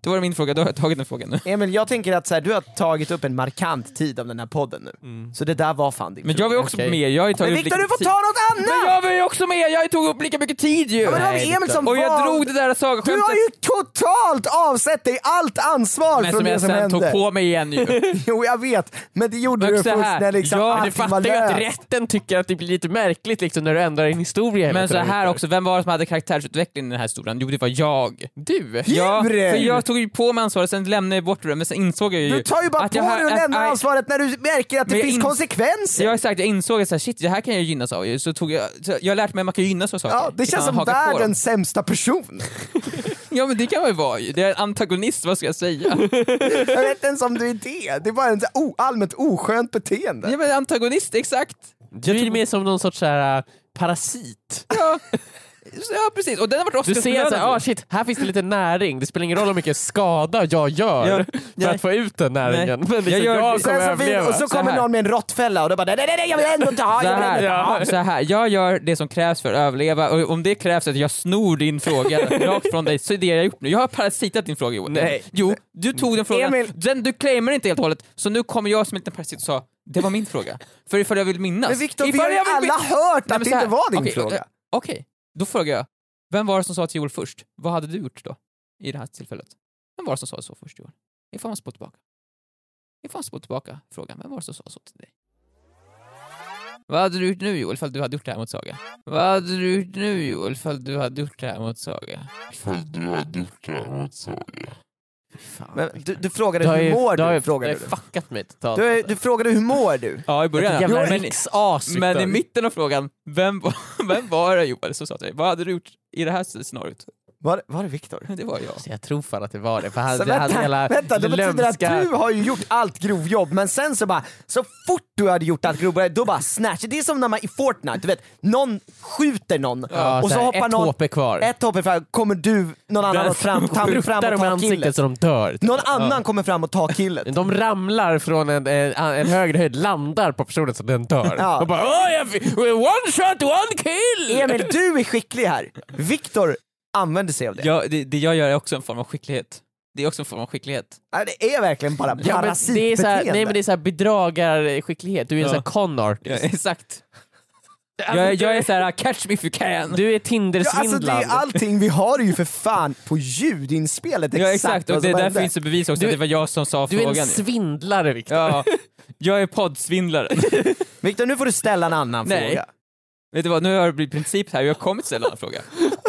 C: Då var det min fråga, då har jag tagit den frågan nu.
D: Emil, jag tänker att så här, du har tagit upp en markant tid av den här podden nu. Så det där var fan din
C: Men
D: fråga.
C: jag var ju också
B: Okej.
C: med, jag har ju tagit
D: Men
C: upp lika
D: Viktor, du
C: mycket
D: får
C: tid.
D: ta något
C: Men
D: annat!
C: jag var ju också med, jag tog upp lika mycket tid ju!
D: men det var väl
C: Nej,
D: Emil
C: Viktor.
D: som
C: Och jag
D: var-
C: drog det där
D: Du har
C: sagaskämtet
D: ju totalt avsett dig allt ansvar
C: men
D: från
C: som
D: det
C: jag
D: som
C: sen
D: hände.
C: tog på mig igen ju.
D: Jo, jag vet. Men det gjorde
C: Men
D: du
C: så
D: först
C: här,
D: när liksom
C: ja,
B: Du
D: allting var
B: fattar ju att
D: löst.
B: rätten tycker att det blir lite märkligt liksom när du ändrar din historia. hela
C: Men så
B: tiden,
C: här
B: Viktor.
C: också, vem var det som hade karaktärsutveckling i den här historien? Jo det var jag.
B: Du!
C: Ja,
D: Djur!
C: för jag tog ju på mig ansvaret, sen lämnade jag bort det, men sen insåg jag ju...
D: Du tar ju bara
C: att
D: på
C: jag, har-
D: dig och
C: att-
D: lämnar
C: aj,
D: ansvaret när du märker att det
C: Men jag
D: finns
C: ins-
D: konsekvenser.
C: Ja exakt, jag insåg att så här, shit, det här kan jag gynnas av ju. så tog jag, så jag har lärt mig att man kan gynnas av saker.
D: Ja, det
C: utan
D: känns
C: att
D: som
C: haka på dem.
D: världens sämsta person.
C: Ja men det kan man ju vara ju, det är en antagonist, vad ska jag säga?
D: Jag vet inte ens om du är det. Det är bara ett o- allmänt oskönt beteende.
C: ja men antagonist, exakt!
B: Du är mer som någon sorts så här, äh, parasit.
C: Ja, Så, ja precis, och den har varit
B: Du ser att
C: Oscarsbelönad.
B: ah, shit, här finns det lite näring, det spelar ingen roll hur mycket skada jag gör
C: Ja,
B: för
C: nej.
B: att få ut den näringen.
C: Nej.
B: Men liksom,
C: Jag
B: jag,
C: gör-
D: Och sen så
B: kommer
D: fin,
B: överleva.
D: och så
C: Så
D: kommer
C: här.
D: någon med en råttfälla och då bara nej, nej, nej, jag vill ändå ta,
C: Så
D: jag vill
C: här,
D: ändå ta.
C: ja, så här, jag gör det som krävs för att överleva och om det krävs att jag snor din fråga rakt från dig så är det jag har gjort nu. Jag har parasitat din fråga Joel.
B: Nej.
C: Jo, du tog den frågan,
D: Emil.
C: den, du claimar inte helt och hållet, så nu kommer jag som en liten parasit och sa det var min fråga. För ifall jag vill minnas.
D: Men Viktor, vi
C: ifall
D: har ju
C: jag vill
D: alla
C: min-
D: hört
C: Nej,
D: att
C: men
D: det
C: så här,
D: inte var din
C: okej,
D: fråga.
C: eh, Okej, då frågar jag. Vem var det som sa till Joel först? Vad hade du gjort då? i det här tillfället? Vem var det som sa så först Johan? Ifall man spår tillbaka. Ifall man spår tillbaka frågan, vem var det som sa så till dig? Vad hade du gjort nu Joel ifall du hade gjort det här mot Saga? Vad hade du gjort nu Joel ifall du hade gjort det här mot Saga?
A: Ifall du hade gjort det här mot Saga.
D: Men du, du frågade
B: Du har
D: hur
B: ju-
D: mår
B: du har
D: du?
B: ju-
D: Frågade
B: du
D: du.
B: har fuckat mig totalt.
D: Du, du frågade hur mår du?
C: Ja, i början.
B: Jävla
C: Jo, men-
B: riksas,
C: Men i
B: Viktor.
C: mitten av frågan, vem var, vem var det Joel som sa till dig? Vad hade du gjort i det här scenariot?
D: Var, var det Viktor?
C: Det var jag.
B: Så jag tror fan att det var det, för han,
D: Så
B: han
D: vänta,
B: Alltså, hela
D: vänta, det betyder att
B: lömska-
D: du har ju gjort allt grovjobb men sen så bara, så fort du hade gjort allt grovjobb då bara snatch. Det är som när man i Fortnite, du vet, någon skjuter någon
B: Ja,
D: och så,
B: här,
D: hoppar
B: ett
D: någon,
B: HP kvar.
D: ett hopp fram, kommer du, någon annan fram, tar fram
B: Pruttar
D: och
B: dem i
D: tar killen.
B: ansiktet så de dör.
D: Någon annan kommer fram och tar killen.
B: De ramlar från en, en, en högre höjd, landar på personen så den dör.
D: Ja.
B: Och bara Åh, jag fick, one shot, one kill!
D: Emil, du är skicklig här. Viktor använder sig av det.
C: jag det, det jag gör är också en form av skicklighet. Det är också en form av skicklighet.
D: Ja, Det är verkligen bara
B: Ja, men det är så här, nej men det
D: parasitbeteende.
B: är såhär bedragarskicklighet, du är en
C: Ja.
B: sån här con
C: Ja,
B: artist.
C: exakt. Jag, jag är såhär, catch me if you can.
B: Du är
D: Ja, alltså det
B: Tindersvindlad.
D: är allting vi har är ju för fan på ljudinspelet
C: ja,
D: exakt
C: exakt.
D: vad
C: Och det
D: som
C: är
D: hände.
C: därför finns det bevis också
B: Du-
C: att det var jag som sa
B: du är
C: frågan.
B: en svindlare Viktor.
C: ja, jag är poddsvindlare.
D: Viktor, nu får du ställa en annan
C: Nej.
D: fråga.
C: Vet du vad, nu har det blivit princip här, jag kommer inte ställa en fråga.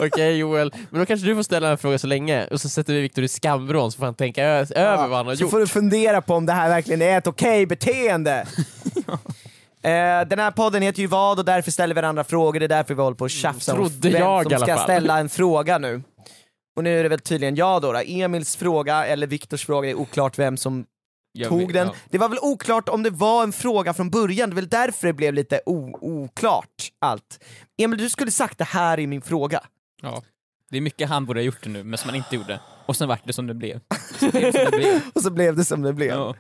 B: Okej Joel, men då kanske du får ställa en fråga så länge och så sätter vi Viktor i skambron så får han tänka ö- över vad han har
D: Så
B: gjort.
D: får du fundera på om det här verkligen är ett okej beteende. Eh, Den här podden heter ju vad och därför ställer vi varandra frågor, det är därför vi håller på och tjafsar om
B: Mm, trodde
D: vem
B: jag i
D: som
B: alla
D: ska
B: fall.
D: ställa en fråga nu. Och nu är det väl tydligen jag då, då. Emils fråga eller Viktors fråga, det är oklart vem som
C: Jag
D: tog
C: vet-
D: den.
C: ja.
D: Det var väl oklart om det var en fråga från början, det är väl därför det blev lite o- oklart allt. Emil, du skulle sagt det här i min fråga.
C: Ja. Det är mycket han borde ha gjort nu, men som han inte gjorde. Och sen vart det som det blev. Så det blev som det blev.
D: Och så blev det som det blev.
C: Ja.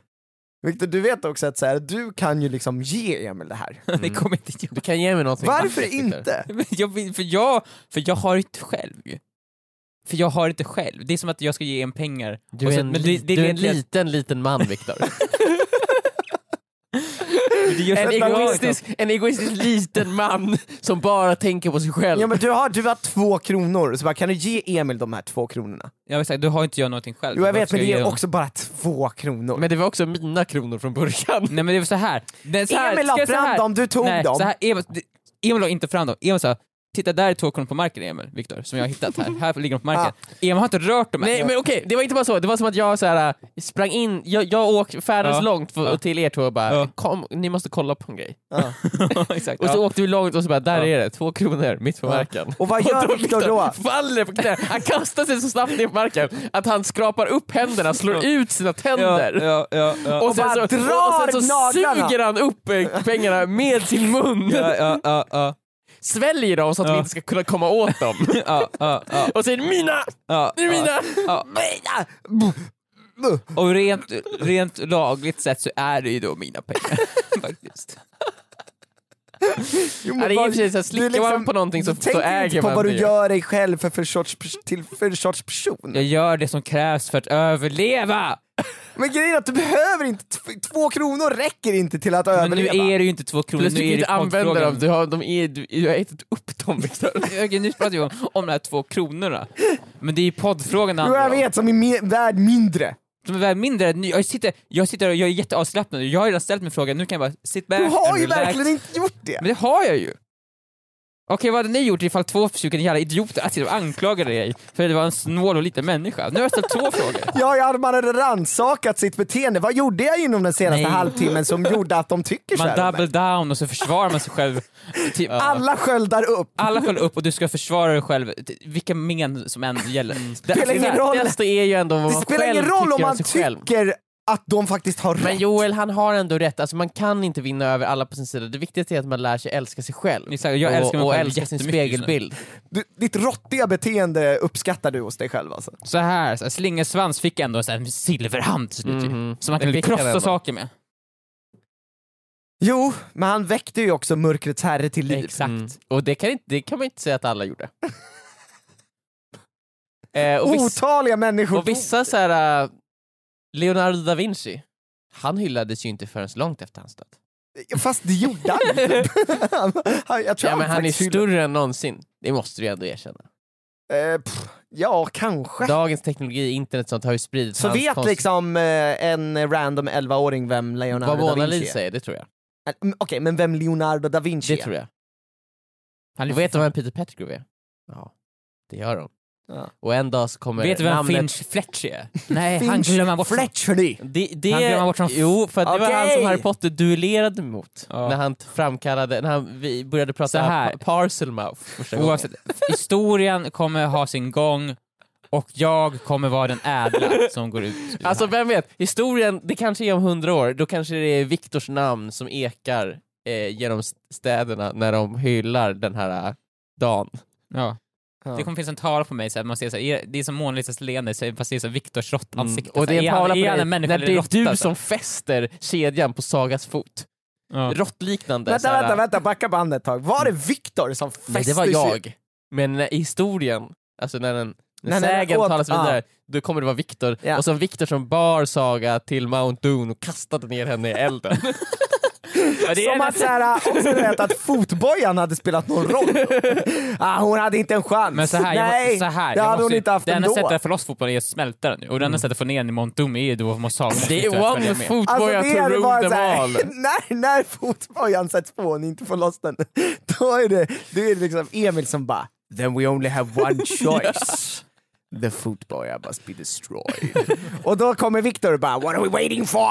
D: Viktor, du vet också att så här, du kan ju liksom ge Emil det här.
C: Det
B: Mm.
C: kommer inte jag.
B: Du kan ge mig någonting.
D: Varför
B: vackert, Viktor.
D: inte?
C: Men jag vill, för, jag, för jag har inte själv ju. För jag har inte själv. Det är som att jag ska ge en pengar.
B: Du
C: Och
B: är
C: så-
B: en,
C: men
B: li- du är en
C: leder till att-
B: liten, liten man Viktor.
C: det gör-
B: en,
C: det gör-
B: egoistisk, en egoistisk liten man som bara tänker på sig själv.
D: Ja men du har, du har två kronor, så bara, kan du ge Emil de här två kronorna?
C: Jag vill säga, du har inte jag någonting själv.
D: Jo jag
C: Varför
D: vet
C: ska
D: men det
C: jag ge
D: är
C: dem?
D: också bara två kronor.
B: Men det var också mina kronor från början.
C: Nej men det var så här. Det är så här
D: Emil
C: ska
D: la
C: jag säga
D: fram
C: här?
D: dem, du tog
C: Nej,
D: dem.
C: Så här, Emil, det- Emil la inte fram dem. Emil sa Titta där är två kronor på marken Emil, Viktor, som jag har hittat här. Här ligger de
D: Ah.
C: på marken. Emil har inte rört dem än.
B: Nej men okej, det var inte bara så. Det var som att jag så här, äh, sprang in, jag, jag åkte färdades
C: Ja.
B: långt för,
C: Ja.
B: till er två och bara
C: Ja.
B: Kom, ni måste kolla på en grej.
C: Exakt,
B: Och så
C: ja.
B: åkte vi långt och så bara, där
C: Ja.
B: är det, två kronor mitt på marken. liksom
D: Och vad gör Viktor då?
B: faller på knä, han kastar sig så snabbt ner på marken att han skrapar upp händerna, slår ut sina
C: Ja,
B: tänder.
C: ja, ja, ja.
B: Och sen,
D: bara
B: så,
D: drar
B: och sen så
D: naglarna.
B: suger han upp eh, pengarna med sin mun,
C: ja, ja, ja, ja,
B: sväljer dem så att vi
C: Ja.
B: inte ska kunna komma åt dem.
C: ja, ja, ja,
B: Och säger mina!
C: ja,
B: Det är
C: ja.
B: mina!
C: Ja. Och rent, rent lagligt sett så är det ju då mina pengar. faktiskt.
D: Jo,
B: Ja,
D: men
B: det är i och
D: vad-
B: för sig så
D: du liksom-
B: här, slickar man på någonting så-
D: du
B: så
D: tänker
B: äger
D: inte på
B: man
D: vad
B: det
D: du
B: ju.
D: gör dig själv för, för, sorts, pers- till, för sorts person.
C: Jag gör det som krävs för att överleva!
D: Men grejen är att du behöver inte, t- två kronor räcker inte till att
C: Men nu
D: överleva.
C: är det ju inte två kronor,
B: Plus
C: nu
B: du kan
C: är
B: typ inte
C: det
B: använda dem,
C: poddfrågan.
B: du har, de är, du, du har ätit upp dem Viktor.
C: Okej, nu pratar vi om, om de här två kronorna. Men det är ju poddfrågan det
D: Jo jag
C: handlar om.
D: vet, som är mer, värd mindre.
C: De är väl mindre. än- Jag sitter, jag sitter och jag är jätteavslappnad. Jag har redan ställt min fråga, nu kan jag bara sit back
D: Du har
C: and
D: ju
C: relax.
D: verkligen inte gjort det.
C: Men det har jag ju! Okej, vad hade ni gjort ifall två stycken jävla idioter att sitta och anklagade dig för att det var en snål och liten människa? Nu har jag ställt två frågor.
D: Ja, ja, man hade rannsakat sitt beteende. Vad gjorde jag inom den senaste
C: Nej.
D: halvtimmen som gjorde att de tycker så
C: Man
D: här om
C: double
D: mig?
C: down och så försvarar man sig själv. Typ,
D: Alla sköldar upp.
C: alla skäller upp och du ska försvara dig själv, t- vilka men som än gäller. Det,
D: spelar ingen roll.
B: Alltså, Det viktigaste är ju ändå vad
D: Det
B: man
D: spelar
B: själv
D: ingen roll om
B: tycker
D: man
B: sig själv.
D: tycker att de faktiskt har
B: Men
D: rätt.
B: Joel han har ändå rätt, alltså man kan inte vinna över alla på sin sida. Det viktigaste är att man lär sig älska sig själv.
C: Exakt, jag älskar mig
B: och, och
C: själv
B: älska sin
C: jättemycket just nu.
B: spegelbild.
D: Du, ditt råttiga beteende uppskattar du hos dig själv alltså?
C: Så här, så här Slingersvans fick ändå så här en silverhand till slut ju,
B: Mhm.
C: som man
B: Den
C: kunde
B: fick han
C: krossa
B: ändå.
C: saker med.
D: Jo, men han väckte ju också mörkrets herre till liv.
C: Exakt.
B: Mm. Och det kan, inte, det kan man inte säga att alla gjorde. eh, och, viss,
D: Otaliga människor.
B: och vissa så här, äh, Leonardo da Vinci, han hyllades ju inte förrän långt efter hans död.
D: Fast det gjorde han inte. Han- Jag tror
B: Ja, men han är
D: faktiskt-
B: större än någonsin, det måste du ändå erkänna.
D: Eh, pff, Ja, kanske.
B: Dagens teknologi, internet och sånt har ju spridit
D: så
B: hans
D: vet
B: konst-
D: liksom eh, en random 11-åring vem
B: vad
D: Leonardo da
B: Mona
D: Vinci
B: Lisa
D: är?
B: är, det tror jag.
D: Eh, mm, Okej, men vem Leonardo da Vinci
B: Det
D: är?
B: tror jag.
C: Han
B: Och
C: är
B: vet du vem Peter Pettigrew är? Ja, det gör de.
D: Ja.
B: Och en dag så kommer
C: Vet du vem
B: namnet...
C: Finch Fletcher är? Nej, han
D: Finch
C: glömmer bort
D: Fletcherly!
B: Det, det,
C: Han glömmer bort som-
B: Jo, för att det var han som
D: Okej!
B: Harry Potter duelerade mot.
C: Ja.
B: När han framkallade, när han, vi började prata
C: Så här.
B: pa- parcel mouth första gången.
C: Oavsett, historien kommer ha sin gång och jag kommer vara den ädla som går ut. ur det
B: Alltså
C: här.
B: vem vet, historien, det kanske är om hundra år, då kanske det är Viktors namn som ekar eh, genom st- städerna när de hyllar den här eh, dagen.
C: ja.
D: Ja.
C: Det kommer finnas en tavla på mig, så här, man ser så här, är- det är som Mona Lisas leende, så här, fast det är så här Viktors råttansikte.
B: Mm. Och det är en
C: han-
B: tavla på
C: Alltså, är han
B: dig
C: en människa
B: när
C: eller
B: det är
C: råtta,
B: du
C: alltså?
B: som fäster kedjan på Sagas fot.
C: Ja.
B: Råttliknande.
D: Vänta,
B: såhär-
D: vänta, vänta, backa bandet ett tag. Var det Viktor som fäste
B: Nej, det var
D: sig-
B: jag. Men när- i historien, alltså när den när
D: Nej, nej,
B: sägen
D: åt-
B: talas
D: ah.
B: vidare, då kommer det vara Viktor.
D: Ja.
B: Och sen Viktor som bar Saga till Mount Doom och kastade ner henne i elden.
C: Ja, det är
D: Som
C: en-
D: att såhär, eh, också berätta att fotbojan hade spelat någon roll. ah, hon hade inte en chans.
C: Men så här, jag,
D: Nej,
C: må- så här,
D: det
C: jag
D: hade hon
C: måste,
D: inte haft
C: Det enda
D: ändå. Mm.
C: sättet att få loss fotbollen är att smälta den nu, och det enda sättet att få ner den i Montum är ju då att man sa
B: det är
C: Alltså,
B: one footboy to
D: Alltså, hade
B: rule
D: varit
B: them
D: såhär,
B: all.
D: när, när fotbojan sätts på och hon inte får loss den, då är det, då är det liksom Emil som bara “Then we only have one choice. The footboy must be destroyed”. och då kommer Viktor och bara “What are we waiting for?”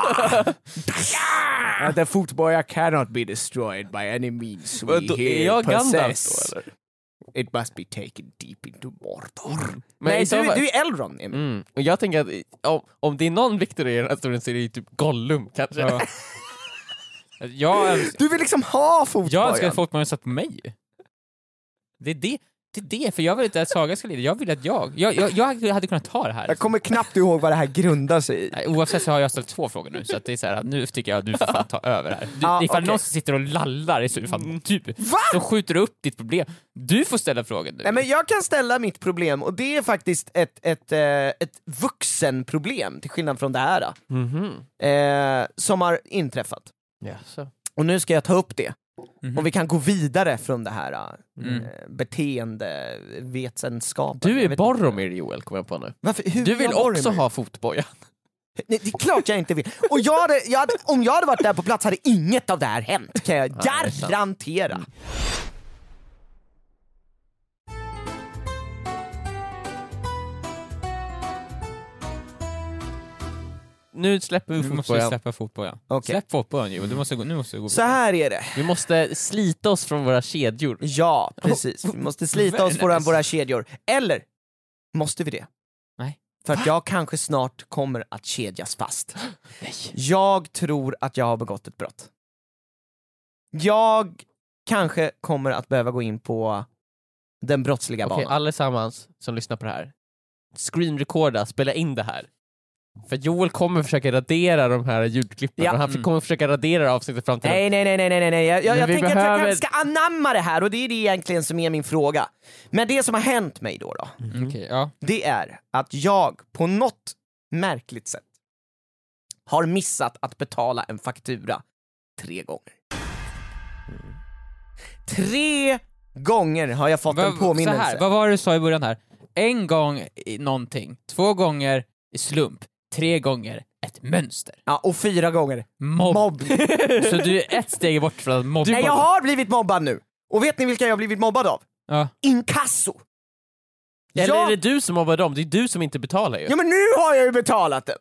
D: “The footboy cannot be destroyed by any means we
B: Men då-
D: here
B: är jag Gandalf
D: possess.
B: då,
D: It must be taken deep into Mordor.”
B: Mm. Men
D: Nej,
B: i så
D: du,
B: fall-
D: du är Elrond Emil.
B: Mm. Och jag tänker att om, om det är någon Viktor i den här historien så är det ju typ Gollum kanske.
C: Ja. Jag, öns-
D: Du vill liksom ha fotbojan.
C: jag önskar att fotbollen satt på mig. Det är det, det är det, för jag vill inte att Saga ska lida, jag vill att jag... Jag, jag, jag hade kunnat ta det här.
D: Jag kommer knappt ihåg vad det här grundar sig i.
C: Nej, Oavsett så har jag ställt två frågor nu, så att det är så här, nu tycker jag att du får fan ta över här. Du, ifall
D: Ja, okej. Mm.
C: någon sitter och lallar i så fall du,
D: Va?
C: så skjuter du upp ditt problem. Du får ställa frågan nu.
D: Nej, men jag kan ställa mitt problem och det är faktiskt ett, ett, eh, ett vuxenproblem till skillnad från det här
B: Mhm.
D: eh, som har inträffat.
B: Jaså.
D: Och nu ska jag ta upp det
C: Mhm.
D: och vi kan gå vidare från det här eh,
C: Mm.
D: beteendevetenskapen.
B: Du
D: Jag
B: är
D: vet inte.
B: Boromir Joel, kommer jag på nu.
D: Varför, hur
B: Du
D: är
B: vill
D: jag
B: också
D: Boromir?
B: ha fotboja.
D: Nej, det är klart jag inte vill. Och jag hade, jag hade, om jag hade varit där på plats hade inget av det här hänt, kan jag
B: det är sant.
D: garantera.
B: Nu släpper vi
C: Nu måste vi
B: fotbojan.
C: släppa fotbollen.
D: Okej.
C: Släpp fotbollen Joel, du måste gå, nu måste du gå.
D: Så här är det.
B: Vi måste slita oss från våra kedjor.
D: Ja, precis. Vi måste slita oss från våra kedjor. Eller, måste vi det?
C: Nej.
D: För att jag kanske snart kommer att kedjas fast. Jag tror att jag har begått ett brott. Jag kanske kommer att behöva gå in på den brottsliga
B: Okej,
D: banan.
B: allesammans som lyssnar på det här. Screenrecorda, spela in det här. För Joel kommer försöka radera de här ljudklippen
D: Ja.
B: och han f-
C: Mm.
B: kommer försöka radera avsnittet fram till
D: Nej, nej, nej, nej, nej, nej. Jag, jag,
B: Men
D: jag
B: vi
D: tänker att jag
B: behöver-
D: kanske ska anamma det här och det är det egentligen som är min fråga. Men det som har hänt mig då, då
C: Okej, ja.
D: det är att jag på något märkligt sätt har missat att betala en faktura tre gånger. Tre gånger har jag fått en
C: Vad-
D: påminnelse.
C: Så här, vad var det du sa i början här? En gång i någonting, två gånger i slump, tre gånger ett mönster.
D: Ja, och fyra gånger
C: Mobb.
D: mobb.
C: Så du är ett steg bort från att mobba.
D: Nej, jag har blivit mobbad nu. Och vet ni vilka jag har blivit mobbad av?
C: ja.
D: Inkasso!
B: Eller
D: jag...
B: är det du som mobbar dem? Det är du som inte betalar ju.
D: Ja men nu har jag ju betalat den!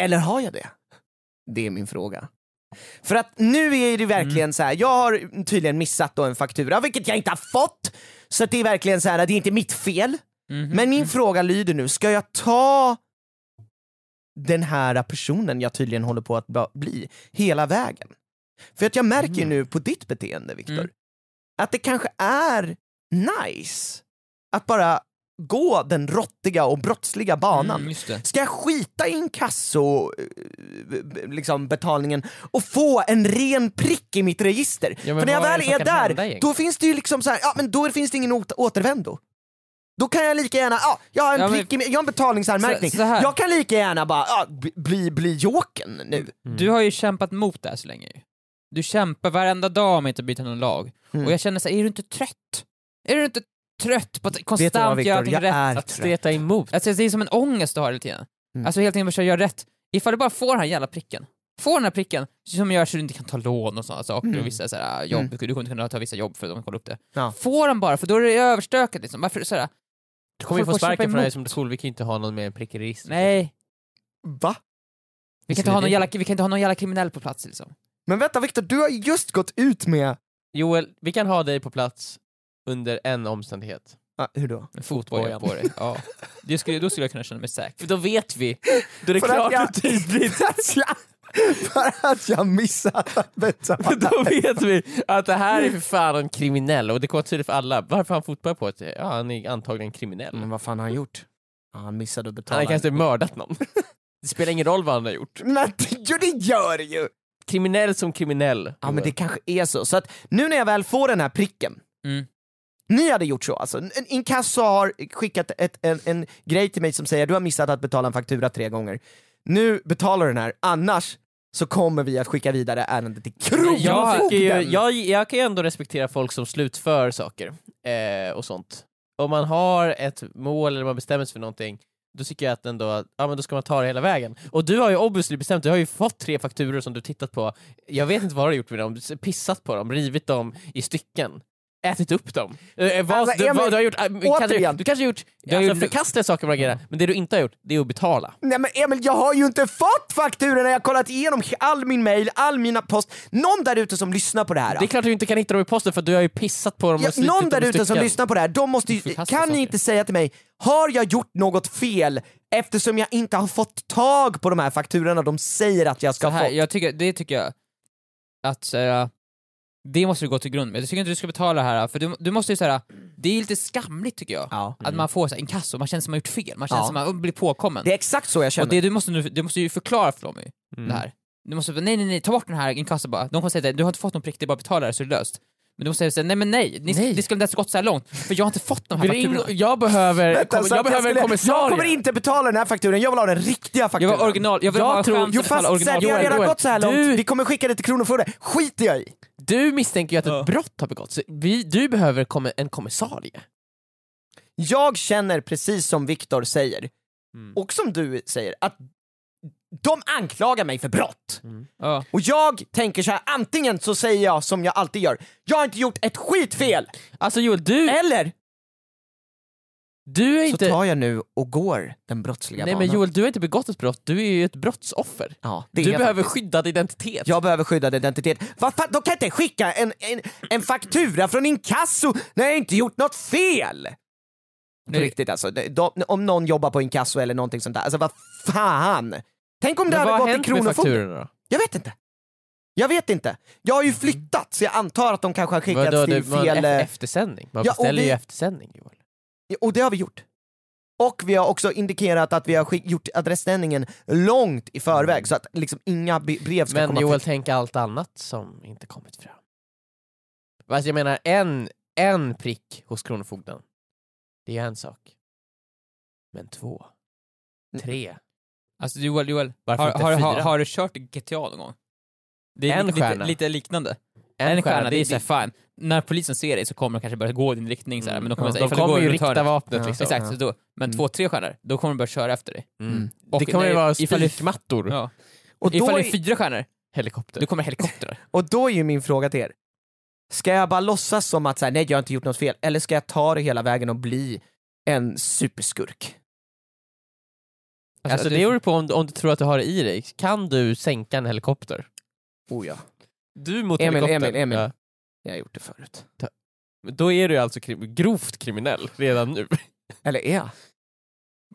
D: Eller har jag det? Det är min fråga. För att nu är det verkligen
C: Mm.
D: så här. jag har tydligen missat då en faktura, vilket jag inte har fått! Så att det är verkligen så här, att det är inte mitt fel.
C: Mhm.
D: Men min fråga lyder nu, ska jag ta den här personen jag tydligen håller på att ba- bli hela vägen? För att jag märker ju nu på ditt beteende Viktor,
C: Mhm. Mm.
D: att det kanske är nice att bara gå den rottiga och brottsliga banan.
C: Mm, just det.
D: Ska jag skita i inkasso, eh, b- b- liksom betalningen och få en ren prick i mitt register?
B: Ja, men
D: För när jag
B: vad är
D: väl
B: det
D: är,
B: som kan hända
D: där,
B: egentligen?
D: då finns det ju liksom så här, ja men då finns det ingen åt- återvändo. Då kan jag lika gärna, ja, jag har en,
C: Ja, men-
D: prick i, min- jag har en betalningsanmärkning,
C: Så- så här.
D: jag kan lika gärna bara ja, b- bli, bli joken nu.
C: Du har ju kämpat mot det här så länge ju. Du kämpar varenda dag med att inte byta någon lag.
D: Mm.
C: Och jag känner så här, är du inte trött? Är du inte trött på att
D: Vet du vad,
C: konstant
D: Viktor?
C: göra allting
D: Jag
C: rätt.
D: är
C: Att-
D: trött.
B: Streta emot.
C: Alltså, det är som en ångest du har hela tiden.
D: Mm.
C: Alltså hela tiden försöka göra rätt. Ifall du bara får den här jävla pricken, får den här pricken som gör så du inte kan ta lån och sådana saker och vissa så här, äh, jobb,
D: Mm.
C: du kommer inte kunna ta vissa jobb för att de kollar upp det.
D: Ja.
C: Får den bara, för då är det överstökat liksom. Varför sådär?
B: Du kommer ju
C: Får- får
B: få
C: kämpa
B: sparken för det här
C: emot.
B: som Solveig kan ju inte ha någon mer prick i registret.
C: Nej,
D: Va?
C: vi kan, inte ha någon jävla, vi kan inte ha någon jävla kriminell på plats liksom.
D: Men vänta Viktor, du har just gått ut med...
B: Joel, vi kan ha dig på plats under en omständighet.
D: Ah, hur då?
C: Fotboja på dig. Ja. Det skulle, då skulle jag kunna känna mig säker.
B: För då vet vi. Då är det
D: För att
B: klart
D: jag-
B: och tydligt.
D: För att jag, för att jag missat att betala.
B: Då vet vi att det här är för fan en kriminell och det kommer vara tydligt för alla. Varför har han fotboja på sig? Ja, han är antagligen kriminell.
D: Men vad fan har han gjort? Mm. Ja, han missade att
B: Han
D: betala.
B: har kanske mördat någon. Det spelar ingen roll vad han har gjort.
D: Men jo, det gör det ju!
B: Kriminell som kriminell.
D: Ja men det kanske är så. Så att nu när jag väl får den här pricken,
C: Mm.
D: ni hade gjort så alltså. En inkasso har skickat ett, en, en grej till mig som säger du har missat att betala en faktura tre gånger. Nu betalar du den här, annars så kommer vi att skicka vidare ärendet till
B: Men jag, tycker ju,
D: Kronofogden!
B: jag, jag kan ju ändå respektera folk som slutför saker eh, och sånt. Om man har ett mål eller man bestämmer sig för någonting, då tycker jag att ändå, att- ja, men då ska man ta det hela vägen. Och du har ju obviously bestämt, du har ju fått tre fakturor som du tittat på, jag vet inte vad du har gjort med dem, pissat på dem, rivit dem i stycken. Ätit upp dem. Eh, vad,
D: Alltså,
B: du,
D: Emil,
B: vad, du har gjort, äh, kanske,
D: återigen.
B: du kanske har gjort,
C: har
B: alltså,
C: gjort-
B: förkastliga saker man agerar, men det du inte har gjort, det är att betala.
D: Nej men Emil, jag har ju inte fått fakturorna, jag har kollat igenom all min mail, all mina post. Någon där ute som lyssnar på det här.
B: Det är klart att du inte kan hitta dem i posten för du har ju pissat på dem
D: Ja,
B: och slitit
D: någon
B: dem i
D: där ute som
B: stycken.
D: lyssnar på det här, de måste ju,
C: Förkasta
D: kan
C: saker.
D: ni inte säga till mig, har jag gjort något fel eftersom jag inte har fått tag på de här fakturorna de säger att jag ska
C: Så
D: ha
C: här,
D: fått?
C: jag tycker, det tycker jag att såhär, det måste du gå till grund med. Jag tycker inte du ska betala det här, för du, du måste ju såhär, det är lite skamligt tycker jag.
D: Ja.
B: Mm.
C: Att man får såhär, inkasso, man känner som man gjort fel, man känner
D: Ja.
C: som man blir påkommen.
D: Det är exakt så jag
C: och
D: känner.
C: det, du, måste nu, du måste ju förklara för dem ju,
B: Mm.
C: det här. Du måste, nej nej nej, ta bort den här inkasso bara. De kommer säga att du har inte fått någon prick, det är bara att betala det så är det löst. Men de säger såhär, nej men nej, ni,
B: Nej.
C: det skulle inte ens gått så här långt, för jag har inte fått de här
B: Ring,
C: fakturorna.
B: jag behöver,
D: Vänta,
B: kom,
D: så
B: jag
D: att
B: behöver en
D: skulle- jag kommer
B: kommissarie.
D: inte betala den här fakturan, jag vill ha den riktiga
C: Jag
D: fakturan.
C: var original, jag vill
B: Jag
C: ha en
B: tror-
C: chans
D: Jo
C: att betala
D: fast sen,
C: original.
D: jag har
B: Joel,
D: redan
B: Joel,
D: gått så här långt,
B: du-
D: vi kommer skicka det till Kronofogden, skiter jag i!
B: Du misstänker ju att ett
C: Ja.
B: brott har begåtts. Vi, du behöver komma, en kommissarie.
D: Jag känner precis som Viktor säger,
B: Mm.
D: och som du säger, att de anklagar mig för brott.
C: Ja.
D: Och jag tänker så här, antingen så säger jag som jag alltid gör, jag har inte gjort ett skitfel!
B: Alltså Joel, du,
D: Eller
B: du är
D: så
B: inte...
D: tar jag nu och går den brottsliga
B: Nej
D: banan.
B: men Joel, du har inte begått ett brott, du är ju ett brottsoffer.
D: ja, det
B: Du
D: är jag
B: behöver
D: faktiskt.
B: skyddad identitet.
D: jag behöver skyddad identitet. Vad fan, de kan inte skicka en, en, en faktura från inkasso när jag inte gjort något fel! På
C: Nej.
D: riktigt alltså, de, om någon jobbar på inkasso eller någonting sånt där, alltså vad fan! Tänk om det
B: men vad
D: hade
B: har
D: gått till
B: hänt med
D: Kronofogden?
B: fakturorna då?
D: Jag vet inte. Jag vet inte. Jag har ju flyttat så jag antar att de kanske har skickats
B: Vadå, det
D: till
B: var
D: fel...
B: en
D: eh,
B: ef- eftersändning? Man
D: Ja, och
B: beställer
D: vi-
B: ju eftersändning Joel.
D: Och det har vi gjort. Och vi har också indikerat att vi har skick- gjort adressändringen långt i förväg så att liksom inga be- brev ska
B: Mm. Men
D: komma
B: Joel,
D: fram.
B: tänk allt annat som inte kommit fram. Alltså jag menar, en, en prick hos Kronofogden, det är en sak. Men två,
D: Mm.
B: tre,
C: Alltså Joel, Joel,
B: Varför
C: har,
B: inte
C: har, har,
B: fyra?
C: har du kört GTA någon gång? Det
B: En
C: lite,
B: stjärna.
C: Lite, lite liknande. En, stjärna, det är såhär fine. När polisen ser dig så kommer de kanske börja gå i din riktning såhär, men de kommer,
B: Mm.
C: säga,
B: Ja, de
C: ifall du
B: kommer
C: går
B: ju
C: runt
B: rikta
C: hörnet-
B: vapnet
D: Ja.
B: liksom.
C: Exakt, så då. Men
D: Mm.
C: två, tre stjärnor, då kommer de börja köra efter dig.
B: Mm.
C: Och
B: Det kommer
C: när-
B: ju vara
C: ifall det-
B: spikmattor,
C: Ja.
D: Och då,
C: Ifall det
D: är-
C: är fyra stjärnor,
B: helikopter.
C: då kommer helikoptrar.
D: och då är ju min fråga till er. Ska jag bara låtsas som att så här, nej jag har inte gjort något fel, eller ska jag ta det hela vägen och bli en superskurk?
B: Alltså det beror på om, om du tror att du har det i dig. Kan du sänka en helikopter?
D: Oh ja,
B: Du mot
D: Emil,
B: helikopter.
D: Emil, Emil.
B: Ja.
D: jag har gjort det förut.
B: Men Då är du alltså krim- grovt kriminell redan nu.
D: Eller är jag?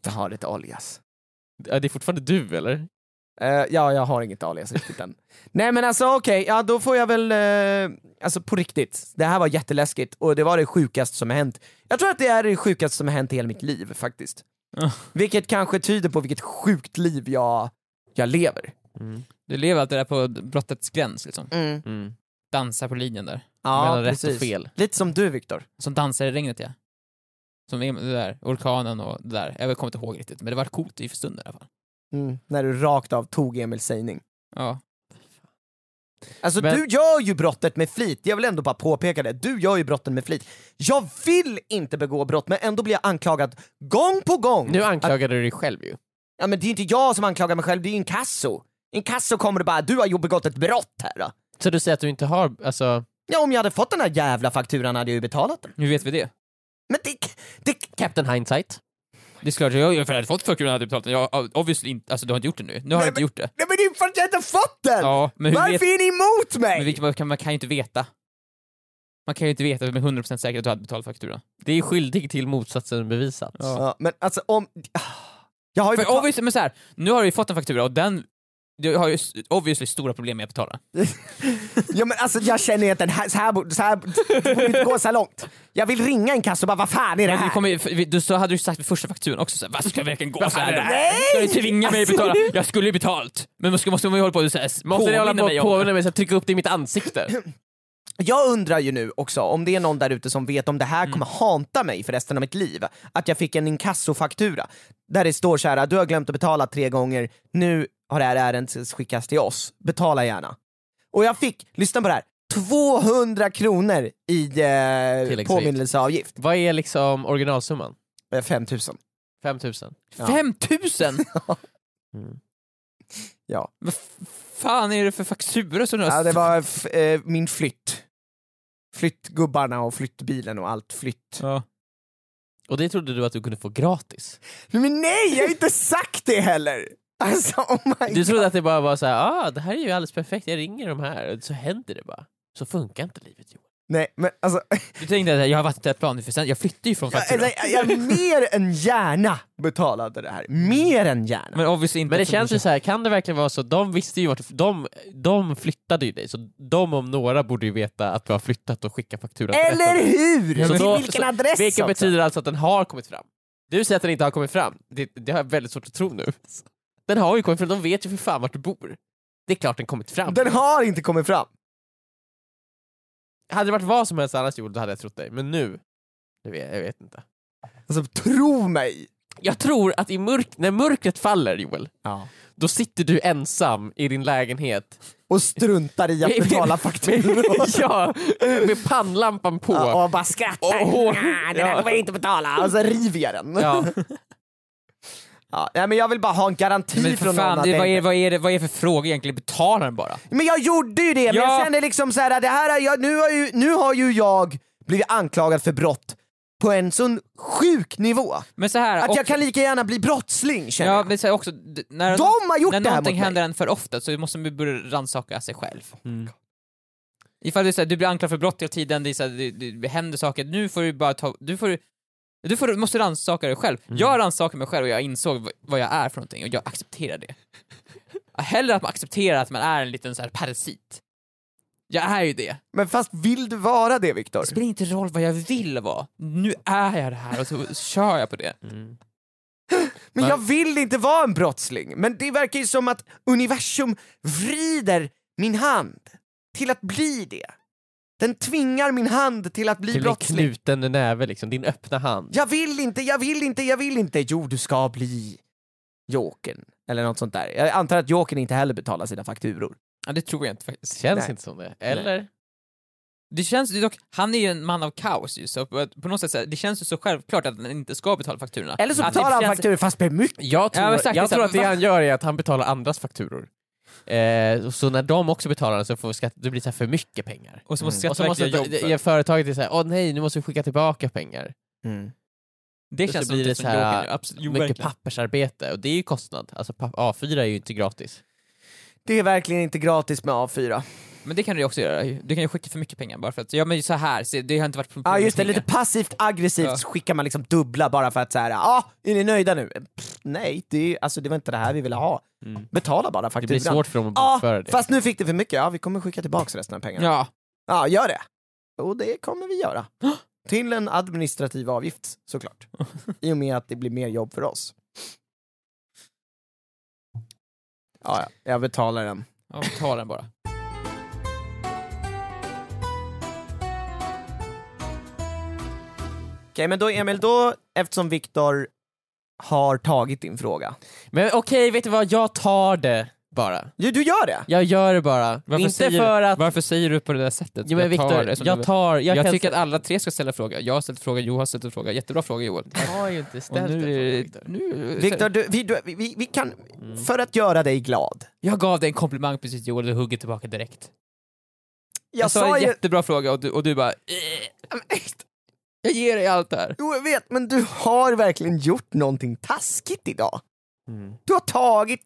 D: Jag har ett alias.
B: Ja, Det är fortfarande du eller?
D: Eh, ja, jag har inget alias riktigt än. Nej men alltså okej, ja då får jag väl, eh, alltså på riktigt. Det här var jätteläskigt och det var det sjukaste som har hänt. Jag tror att det är det sjukaste som har hänt i hela mitt liv faktiskt.
C: Ja.
D: Vilket kanske tyder på vilket sjukt liv jag, jag lever.
C: Du lever alltid där på brottets gräns liksom.
B: Mm.
C: Dansar på linjen där.
B: Mellan rätt och fel.
D: Lite som du Viktor.
C: Som dansar i regnet ja. Som det där, orkanen och det där. Jag kommer inte ihåg riktigt, men det var coolt
D: Mm.
C: i för stunden i alla fall.
D: När du rakt av tog Emils sägning.
C: Ja.
D: Alltså
B: Men-
D: du gör ju brottet med flit, jag vill ändå bara påpeka det. Du gör ju brotten med flit. Jag vill inte begå brott men ändå blir jag anklagad gång på gång.
B: Nu anklagar du dig själv ju.
D: Ja men det är ju inte jag som anklagar mig själv, det är ju inkasso. Inkasso kommer och bara du har ju begått ett brott här då.
B: Så du säger att du inte har, alltså...
D: Ja om jag hade fått den här jävla fakturan hade jag ju betalat den.
C: Hur vet vi det?
D: Men det... det
B: Captain Hindsight?
C: Det är klart, jag, jag hade fått 40 kronor hade jag betalat den. Jag, obviously inte, alltså du har inte gjort det nu. Nu har
D: Nej,
C: jag inte
D: men-
C: gjort det.
D: Nej men det är ju för att jag inte fått den!
C: Ja, men hur
D: Varför
C: vet,
D: är ni emot mig?
C: men vilket, man, kan, man kan ju inte veta. Man kan ju inte veta med 100% säkerhet att du hade betalat fakturan.
B: Det är skyldig till motsatsen bevisat.
D: Ja, men alltså om... ah. Jag har ju
C: För
D: betalt-
C: obviously, men så här, nu har du ju fått en faktura och den, du har ju s- obviously stora problem med att betala.
D: Ja, men alltså, jag känner ju att den här, så här, borde- så här det borde inte gå så här långt. Jag vill ringa en kassa och bara vad fan är det
C: Men vi
D: här?
C: kommer, ju- för vi- du, så hade du sagt vid första fakturan också såhär, vad ska jag verkligen gå så här?
D: Nej!
C: Ska du tvinga mig att betala? Jag skulle ju betalt! Men måste, måste man ju hålla på och såhär,
B: Måste ni
C: påminna
B: hålla på
C: mig
B: och
C: om
B: påminna mig så jag trycker upp det i mitt ansikte?
D: Jag undrar ju nu också om det är någon där ute som vet om det
C: Mm.
D: här kommer hanta mig för resten av mitt liv. Att jag fick en inkassofaktura där det står så här, du har glömt att betala tre gånger, nu har det här ärendet skickats till oss, betala gärna. Och jag fick, lyssna på det här, 200 kronor i eh,
B: Tilläggsavgift.
D: påminnelseavgift.
B: Vad är liksom originalsumman?
D: Eh, 5000.
B: 5000?
D: Ja. Mm.
C: 5000?
D: Ja.
C: Vad f- fan är det för faktura som du har
D: Ja, det var f- eh, min flytt. Flyttgubbarna och flyttbilen och allt flytt.
C: Ja.
B: Och det trodde du att du kunde få gratis?
D: Men nej, jag har inte sagt det heller! Alltså oh my
B: Du
D: god.
B: trodde att det bara var så här, ah, det här är ju alldeles perfekt, jag ringer de här, och så händer det bara. Så funkar inte livet Johan.
D: Nej, men alltså,
C: Du tänkte att jag har varit i ett plan nu för sen, jag flyttar ju från
D: jag,
C: fakturan.
D: jag, jag mer än gärna betalade det här. Mer än gärna.
C: Men obviously inte.
B: Men det
C: eftersom
B: känns
C: du-
B: ju så här, kan det verkligen vara så, de visste ju vart, de, de flyttade ju dig, så de om några borde ju veta att du har flyttat och skickat fakturan till rätt
D: Eller hur?
B: Ja, men
D: Till
B: då-
D: vilken
B: så-
D: adress
B: Vilket
D: också?
B: betyder alltså att den har kommit fram. Du säger att den inte har kommit fram. Det, det har jag väldigt svårt att tro nu. Den har ju kommit fram, de vet ju för fan vart du bor. Det är klart den kommit fram.
D: Den har inte kommit fram.
B: Hade det varit vad som helst annars Joel, då hade jag trott dig. Men nu, jag vet, jag vet inte.
D: Alltså tro mig!
B: Jag tror att i mörk, när mörkret faller Joel,
D: Ja.
B: då sitter du ensam i din lägenhet.
D: Och struntar i att betala fakturor.
B: ja, med pannlampan på.
D: Ja, och bara skrattar.
B: Och hår-
D: Nej, det där
B: ja.
D: kommer jag inte betala. Och så river jag den.
B: Ja.
D: Ja, nej, men jag vill bara ha en garanti
C: Men för
D: från någon
C: fan,
D: att
C: det, vad,
D: jag
C: är,
D: inte...
C: vad, är det, vad är det för fråga egentligen? Betala den bara.
D: Men jag gjorde ju det, men
C: Ja.
D: jag kände liksom så här, det här är jag, nu, har ju, nu har ju jag blivit anklagad för brott på en sån sjuk nivå.
C: Men så här,
D: Att
C: också-
D: jag kan lika gärna bli brottsling känner
C: Ja,
D: jag.
C: men så här också, d- när,
D: De har gjort
C: när
D: det
C: någonting
D: här mot mig. Oh
C: händer en för ofta så måste man börja rannsaka sig själv. Ifall du, så här, du blir anklagad för brott hela tiden, det, är så här, det, det, det händer saker, nu får du bara ta... Du, får, du får, måste rannsaka dig själv.
D: Mm.
C: Jag rannsakade mig själv och jag insåg v- vad jag är för någonting och jag accepterar det. Hellre att man accepterar att man är en liten så här parasit. Jag är ju det.
D: Men fast vill du vara det Viktor?
C: Det spelar inte roll vad jag vill vara. Nu är jag det här och så kör jag på det.
D: Mm. Men jag vill inte vara en brottsling. Men det verkar ju som att universum vrider min hand till att bli det. Den tvingar min hand till att bli
B: Till en
D: brottsling.
B: knuten näve liksom, din öppna hand.
D: Jag vill inte, jag vill inte, jag vill inte. Jo, du ska bli Jokern. Eller något sånt där. Jag antar att Jokern inte heller betalar sina fakturor.
C: Ja, det tror jag inte faktiskt.
B: Känns
D: Nej.
B: inte som det. Eller?
C: Det känns ju dock, han är ju en man av kaos ju, så på på något sätt så här, det känns ju så självklart att han inte ska betala fakturorna.
D: Eller så
C: Att det
D: betalar han
C: känns-
D: fakturor fast med mycket.
B: Jag tror,
C: Ja, men exakt,
B: jag
C: exakt.
B: tror att det
C: Va?
B: han gör är att han betalar andras fakturor. Eh, och så när de också betalar så får skatt, det blir så här för mycket pengar.
C: Och så måste
B: Mm. Och så
C: Skatteverket
B: måste
C: göra jobb
B: det-
C: för
B: det- företaget är såhär, åh nej nu måste vi skicka tillbaka pengar. Mm.
C: det.
B: så
C: känns
B: blir
C: som
B: det
C: det som
B: så här,
C: Joker nu, absolut. Jo,
B: mycket
C: verkligen.
B: pappersarbete och det är ju kostnad. Alltså papp- A4 är ju inte gratis.
D: Det är verkligen inte gratis med A4.
C: Men det kan du ju också göra, ju. du kan ju skicka för mycket pengar bara för att, ja men så här, se, det har inte varit problem
D: Ja just det,
C: med
D: lite
C: pengar.
D: passivt aggressivt
C: Ja.
D: så skickar man liksom dubbla bara för att såhär, ah, är ni nöjda nu? Pff, nej, det, är- alltså, det var inte det här vi ville ha. Betala bara
B: Mm. Det
D: fakturan.
B: blir svårt för dem att
D: Ja,
B: bokföra det.
D: fast nu fick det för mycket, ja vi kommer skicka tillbaka resten av pengarna. Ja,
C: Ja,
D: gör det. Och det kommer vi göra. Till en administrativ avgift såklart. I och med att det blir mer jobb för oss. Ja, ja, jag betalar den.
C: ja ta den bara.
D: Okej men då Emil, då, eftersom Viktor har tagit din fråga.
B: Men okej, vet du vad? Jag tar det. bara.
D: Du, du gör det?
B: Jag gör det bara.
C: Varför
B: inte
C: säger,
B: för att...
C: Varför säger du på det där sättet?
B: Jo, men Viktor,
C: det som
B: jag
C: du-
B: tar...
C: jag,
B: Jag, kan
C: tycker att alla tre ska ställa fråga. Jag har ställt fråga, Johan har ställt en fråga. Jättebra fråga Joel.
B: Jag har ju inte
C: Och
B: ställt
C: nu,
B: det.
C: är det- nu,
D: Viktor, du, vi, du, vi, vi kan,
C: Mm.
D: för att göra dig glad.
C: Jag gav dig en komplimang precis Joel, du hugger tillbaka direkt.
D: Jag,
C: Jag, sa
D: sa
C: en
D: ju,
C: jättebra fråga och du, och du bara... "Eh, Jag ger dig allt det här.
D: jo jag vet, men du har verkligen gjort någonting taskigt idag.
C: Mm.
D: Du har tagit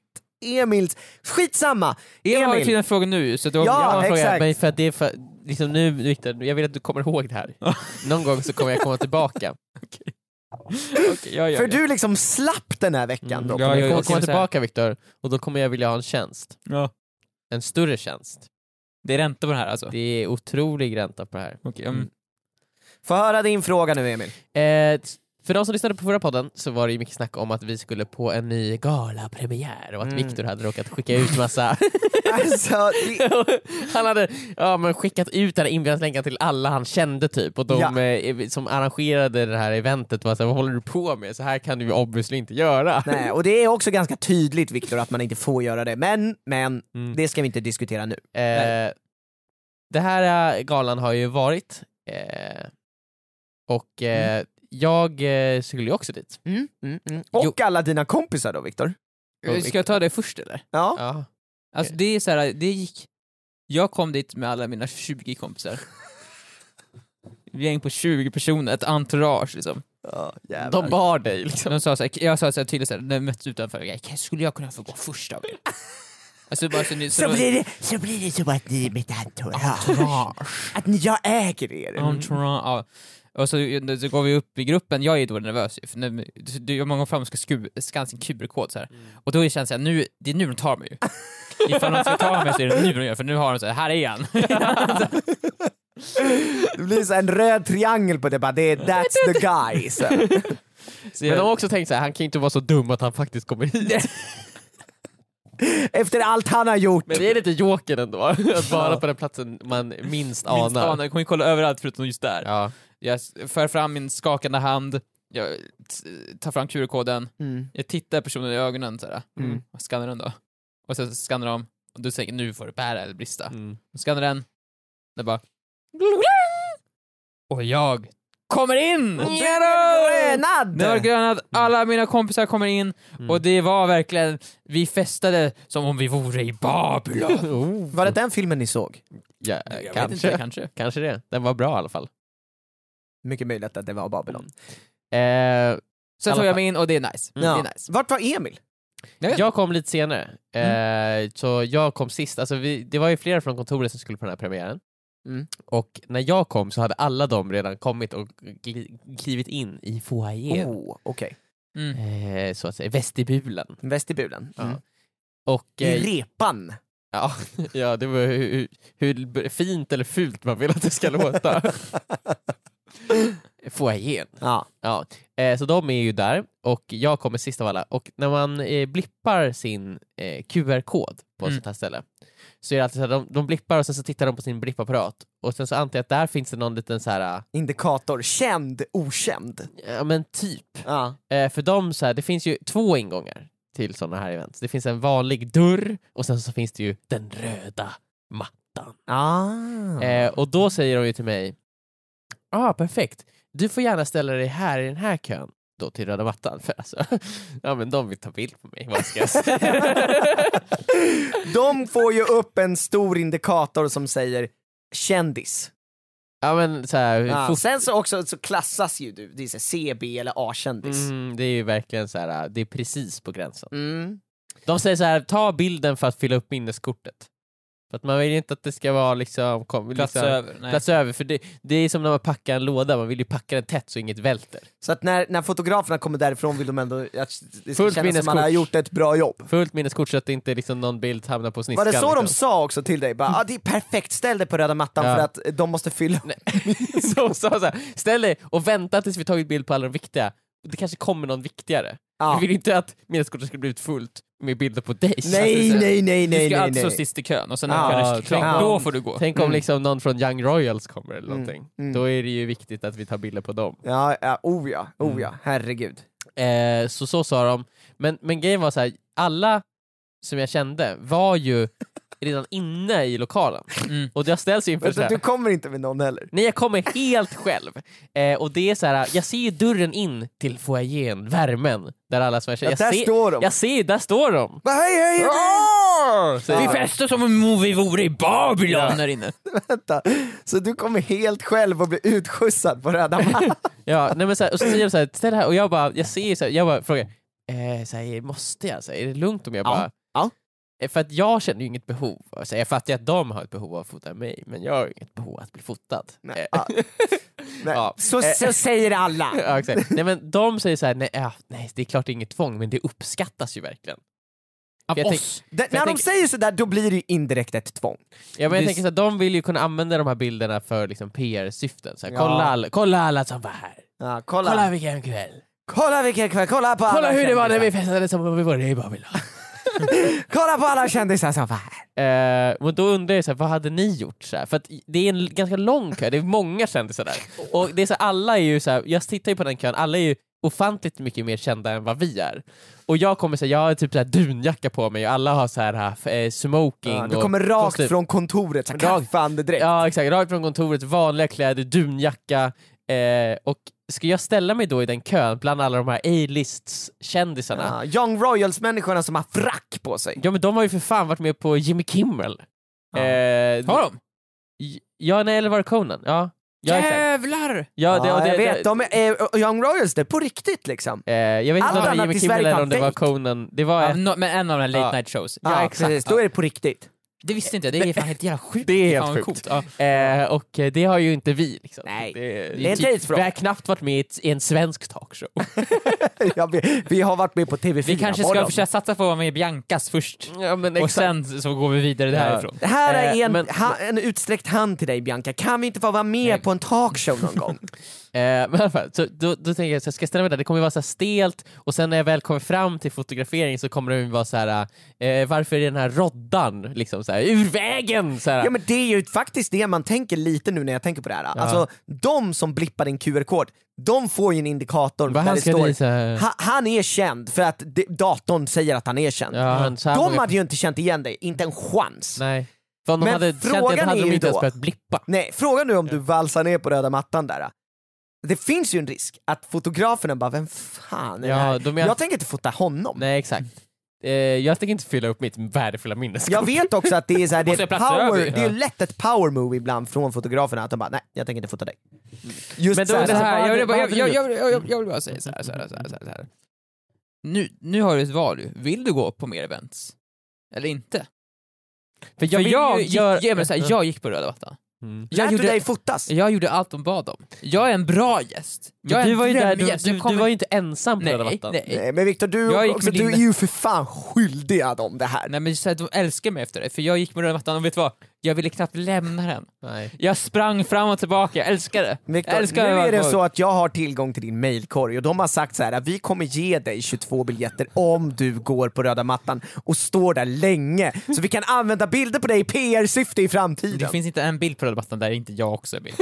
D: Emils, skitsamma,
C: Emil har ju
D: Emil.
C: till en fråga nu så du
D: Ja,
C: jag har en
D: exakt.
C: fråga.
B: Men för att det är för, liksom nu Viktor, jag vill att du kommer ihåg det här. Någon gång så kommer jag komma tillbaka.
C: Okej, jag gör
D: för
C: det.
D: du liksom slapp den här veckan
B: Mm,
D: då.
C: ja,
B: jag
C: jag
B: kommer
C: ser
B: komma
C: det så här.
B: tillbaka Viktor, och då kommer jag vilja ha en tjänst.
C: Ja.
B: En större tjänst.
C: Det är ränta på den här alltså?
B: Det är otrolig ränta på det här.
C: Okej, mm.
D: Få höra din fråga nu Emil.
B: Eh, t- för de som lyssnade på förra podden så var det ju mycket snack om att vi skulle på en ny galapremiär och att
D: Mm.
B: Viktor hade råkat skicka ut massa...
D: Alltså, vi,
B: han hade ja, men skickat ut den här inbjudanslänken till alla han kände typ och de
D: Ja.
B: eh, som arrangerade det här eventet var såhär, vad håller du på med? Så här kan du ju obviously inte göra.
D: nej, och det är också ganska tydligt Viktor att man inte får göra det, men, men
B: Mm.
D: det ska vi inte diskutera nu.
B: Eh, det här eh, galan har ju varit eh, och eh,
D: Mm.
B: jag eh, skulle ju också dit.
D: Och
B: Jo.
D: alla dina kompisar då Viktor? Eh, Mm.
C: Ska jag ta det först eller?
D: Ja.
B: Ja.
C: Alltså det är så här, det gick... Jag kom dit med alla mina 20 kompisar. Ett gäng på 20 personer, ett entourage liksom.
D: Ja, jävlar.
B: De bar dig liksom.
C: De sa så här, jag sa så här tydligt såhär, när vi möttes utanför, jag, skulle jag kunna få gå först av er? Alltså bara så ni... Så
D: Så
C: de-
D: blir, det, så blir det så att ni är mitt entourage.
C: entourage.
D: Att ni, jag äger er.
C: Entourage, Mm. ja. Och så, så går vi upp i gruppen, jag är då nervös ju, för när, det är många gånger fram och ska sku- skanna sin QR-kod så här.
B: Mm.
C: Och då känns det att nu, det är nu de tar mig ju. Ifall de ska ta mig så är det nu de gör för nu har de så här, här är han.
D: Det blir så en röd triangel på det bara, det är that's the guy. Så.
C: Så
B: Men de
C: jag,
B: har också tänkt så här, han kan ju inte vara så dum att han faktiskt kommer hit.
D: Efter allt han har gjort.
B: Men det är lite joker ändå, att vara på den platsen man minst anar.
C: Minst anar, jag kommer ju kolla överallt förutom just där.
B: Ja.
C: Jag s- för fram min skakande hand, jag t- tar fram QR-koden,
D: Mm.
C: jag tittar personen i ögonen såhär,
D: Mm.
C: och skannar den då. Och sen skannar de, och du tänker nu får det bära eller brista.
B: Mm.
C: Jag skannar den, det bara... Och jag kommer in!
D: Och du
C: Yellow!
D: är grönad!
C: Det var grönad, alla mina kompisar kommer in och det var verkligen, vi festade som om vi vore i Babylon.
D: Var det den filmen ni såg?
B: Ja,
C: Jag vet
B: kanske.
C: inte, kanske.
B: kanske det. Den var bra i alla fall.
D: Mycket möjligt att det var Babylon.
B: Eh,
C: Sen tog jag
B: Alla fall.
C: mig in och det är nice.
B: Mm.
D: Ja.
C: Det är nice.
D: Vart var Emil?
B: jag kom lite senare,
C: Mm.
B: eh, så jag kom sist. Alltså vi, det var ju flera från kontoret som skulle på den här premiären.
D: Mm.
B: Och när jag kom så hade alla de redan kommit och gli- klivit in i foajén,
D: Oh, okej.
C: Mm.
B: eh, så att säga, vestibulen.
D: Vestibulen.
B: Ja.
D: Mm.
B: Och,
D: I
B: eh,
D: repan.
B: Ja, ja det var hur, hur, hur b- fint eller fult man vill att det ska låta. Får jag igen?
D: Ja.
B: Ja. Eh, så de är ju där och jag kommer sist av alla. Och när man eh, blippar sin eh, QR-kod på ett
C: Mm.
B: sånt här ställe så är det alltid så här, de, de blippar och sen så tittar de på sin blippapparat och sen så antar jag att där finns det någon liten så här,
D: Indikator. Känd, okänd.
B: eh, ja men typ
D: Ja.
B: Eh, för de, så här, det finns ju två ingångar till sådana här event. Det finns en vanlig dörr och sen så finns det ju den röda mattan.
D: Ah.
B: Eh, och då säger de ju till mig, ja ah, perfekt, du får gärna ställa dig här i den här kön då till röda mattan. För alltså, ja men de vill ta bild på mig, vad ska jag säga?
D: De får ju upp en stor indikator som säger kändis.
B: ja men så här,
D: Ja.
B: Eh,
C: Ah,
B: fot-
D: Sen så också så klassas ju du, det är så här CB eller A-kändis.
B: mm, det är ju verkligen så här, det är precis på gränsen.
D: Mm.
B: De säger så här, ta bilden för att fylla upp minneskortet. För att man vill ju inte att det ska vara liksom... Kom,
C: Plats
B: liksom
C: över. Nej.
B: plats över. För det, det är som när man packar en låda, man vill ju packa den tätt så inget välter.
D: Så att när, när fotograferna kommer därifrån vill de ändå att det ska
B: Fullt
D: kännas som man har
B: minneskort.
D: gjort ett bra jobb.
B: Fullt minneskort så att det inte liksom någon bild hamnar på
D: Var
B: sniskan.
D: det så de
B: liksom.
D: sa också till dig? Bara, ah, det är perfekt, ställ dig på röda mattan
B: Ja.
D: för att eh, de måste fylla.
B: de sa? Så här, ställ dig och vänta tills vi tagit bild på alla de viktiga. Det kanske kommer någon viktigare.
D: Ja.
B: Vi vill inte att minneskortet ska bli ut fullt med bilder på dig.
D: Nej,
C: Alltså,
D: nej, nej,
C: Du
D: nej,
C: ska
D: nej,
C: alltid stå
D: nej.
C: sist i kön och sen
D: Ja,
C: när kön är
B: tänk
C: klar,
D: om-
C: då får du gå.
B: Tänk om liksom någon från Young Royals kommer eller någonting.
D: mm.
B: Då är det ju viktigt att vi tar bilder på dem.
D: Ja, ja, oh ja,
B: Mm.
D: oh ja, herregud.
B: Eh, så så sa de. Men, men grejen var så här, alla som jag kände var ju redan inne i lokalen.
C: Mm.
B: Och jag ställs inför så
D: Vänta,
B: här,
D: du kommer inte med någon heller.
B: Nej, jag kommer helt själv. Eh, och det är så här, jag ser ju dörren in till foajén, värmen, där alla som jag känner.
D: Ja,
B: Jag
D: där
B: ser,
D: står de.
B: Jag Ah! ser, där står de.
D: Bara, hej, hej, hej.
B: Så-
C: Vi festar som om vi vore i Babylon här inne.
D: Vänta. Så du kommer helt själv och blir utskjutsad på röda mattan?
B: Ja, nej men så här, och så säger de så här, ställ det här, och jag bara, jag ser så här, jag bara frågar, eh, så här, måste jag? Så här, är det lugnt om jag
D: Ja,
B: bara...
D: ja.
B: Eh, För att jag känner ju inget behov, alltså, jag fattar ju att de har ett behov av att fota mig, men jag har ju inget behov av att bli fotad.
D: Nej.
B: Eh,
D: Ah. Nej.
B: Ja. Eh.
D: Så, så säger alla.
B: ja, exakt. Nej men de säger så här, nej, ja, nej det är klart det är inget tvång, men det uppskattas ju verkligen.
C: Av
B: Jag
C: oss.
D: Det,
B: jag
D: när de
B: tänker-
D: säger sådär, då blir det ju indirekt ett tvång.
B: Ja, men jag
C: Det-
B: tänker så här, de vill ju kunna använda de här bilderna för liksom, PR-syften. Så här,
D: Ja.
B: kolla, alla, kolla alla som var här,
D: Ja, kolla.
B: kolla
D: kolla.
B: vilken kväll,
D: vilken kväll, kolla på
B: kolla
D: alla
B: hur det var när vi
D: kändisar.
B: festade som om vi vore i Babylon.
D: Kolla på alla kändisar som var här.
B: Eh, men då undrar jag, så här, vad hade ni gjort? Så här? För att det är en ganska lång kö, det är många kändisar där. Och det är så här, alla är ju så här, jag tittar ju på den kön, alla är ju ofantligt mycket mer kända än vad vi är. Och jag kommer säga, jag har typ så här dunjacka på mig och alla har så här, haft, eh, smoking.
D: Ja, du
B: och
D: kommer rakt
B: kostym.
D: från kontoret, så här,
B: Rakt.
D: kaffeandedräkt.
B: Ja exakt, rakt från kontoret, vanliga kläder, dunjacka. Eh, och ska jag ställa mig då i den kön bland alla de här A-lists kändisarna?
D: Ja, Young Royals-människorna som har frack på sig.
B: Ja men de har ju för fan varit med på Jimmy Kimmel.
D: Ja.
B: Eh,
C: Har de?
B: J- Ja, nej, eller var det Conan? Ja. ja exakt.
C: Jävlar!
B: Ja, det,
D: Ja,
B: och det,
D: jag vet,
B: det,
D: de är, eh, Young Royals, det är på riktigt liksom.
B: eh, jag vet inte
D: Allt
B: om det var
D: annat
B: Jimmy
D: i
B: Kimmel
D: Sverige
B: eller
D: fan
B: om det var
D: fake.
B: Conan. Det var,
C: Ja, no- men en av de här late
B: Ja.
C: night shows.
D: Ja, precis, då är det på riktigt.
C: Det visste inte jag, det är fan helt jävla sjukt.
B: Det är helt
C: fan
B: sjukt.
C: coolt. Ja.
B: eh, och eh, det har ju inte vi. Liksom.
D: Nej.
B: det,
D: Det är en tidsfråga.
B: Vi har knappt varit med i, ett, i en svensk talkshow.
D: Ja, vi, vi har varit med på TV4
C: Vi kanske ska
D: morgon.
C: försöka satsa på att vara med i Biancas först,
B: ja, men
C: och sen så går vi vidare därifrån.
D: Det här är
B: Eh,
D: en,
B: men-
D: ha, en utsträckt hand till dig Bianca, kan vi inte få vara med
C: Nej.
D: på en talkshow någon gång?
B: Eh, men i alla fall, så, då, då tänker jag så här, ska jag ställa mig där, det kommer vara så här stelt och sen när jag väl kommer fram till fotografering så kommer det vara så här, eh, varför är den här roddan liksom så här, ur vägen? Så här.
D: Ja men det är ju faktiskt det man tänker lite nu när jag tänker på det här. Alltså de som blippar din QR-kod, de får ju en indikator
B: Vad
D: där
B: han
D: det
B: ska dit, så
D: står
B: här-
D: ha, han är känd för att de, datorn säger att han är känd.
B: Ja, han- så här
D: de
B: många-
D: hade ju inte känt igen dig, inte en chans. Nej.
B: Nej. För om de
D: Men
B: hade känt det
D: frågan
B: hade
D: är
B: de
D: ju
B: inte ens
D: då-
B: behövt blippa.
D: frågan nu om du valsar ner på röda mattan där. Det finns ju en risk att fotograferna bara, vem fan är
B: Ja,
D: det här?
B: de är-
D: Jag tänker inte fota honom.
B: Nej exakt. Eh, jag tänker inte fylla upp mitt värdefulla minneskort.
D: Jag vet också att det är, så här, det
C: Måste jag
D: är,
C: platsa
D: power,
C: över?
D: det är lätt ett power move ibland från fotograferna att de bara, nej jag tänker inte fota dig.
C: Mm.
D: Just
B: Men då
D: så
B: är
D: här,
B: det
C: Så
D: alltså,
C: här,
D: vad
C: jag,
D: hade-
C: vill bara,
D: vad
C: jag,
D: hade
C: jag,
D: du
C: jag, jag, jag vill bara säga så här, så här, så här, så här, så här. Nu, nu har du ett val. ju. Vill du gå på mer events? Eller inte?
B: För
C: För
B: vill ju
C: jag, gick,
B: göra-
C: ja, men så här, jag gick på röda mattan.
B: Mm.
D: Lät
C: Jag
D: du dig
C: gjorde,
D: fotas?
C: jag gjorde allt de bad om. Jag är en bra gäst. Jag är
B: Du
C: en
B: var ju där, du,
C: drömgäst.
B: du,
C: Jag kommer-
B: du var ju inte ensam på
C: nej,
B: Röda Mattan.
C: nej,
D: Nej men Viktor,
C: Jag
D: du,
C: gick
D: också,
C: med
D: du
C: din-
D: är ju för fan skyldig att om det här.
C: Nej men så här, de älskar mig efter det, för jag gick med röda mattan och vet du vad? Jag ville knappt lämna den.
B: Nej.
C: Jag sprang fram och tillbaka, jag älskar det. jag
D: Viktor, nu
C: älskar
D: är det
C: att-
D: så att jag har tillgång till din mailkorg och de har sagt så här att vi kommer ge dig 22 biljetter om du går på röda mattan och står där länge så vi kan använda bilder på dig i PR-syfte i
C: Det
D: framtiden.
C: finns inte en bild på röda mattan där inte jag också är med.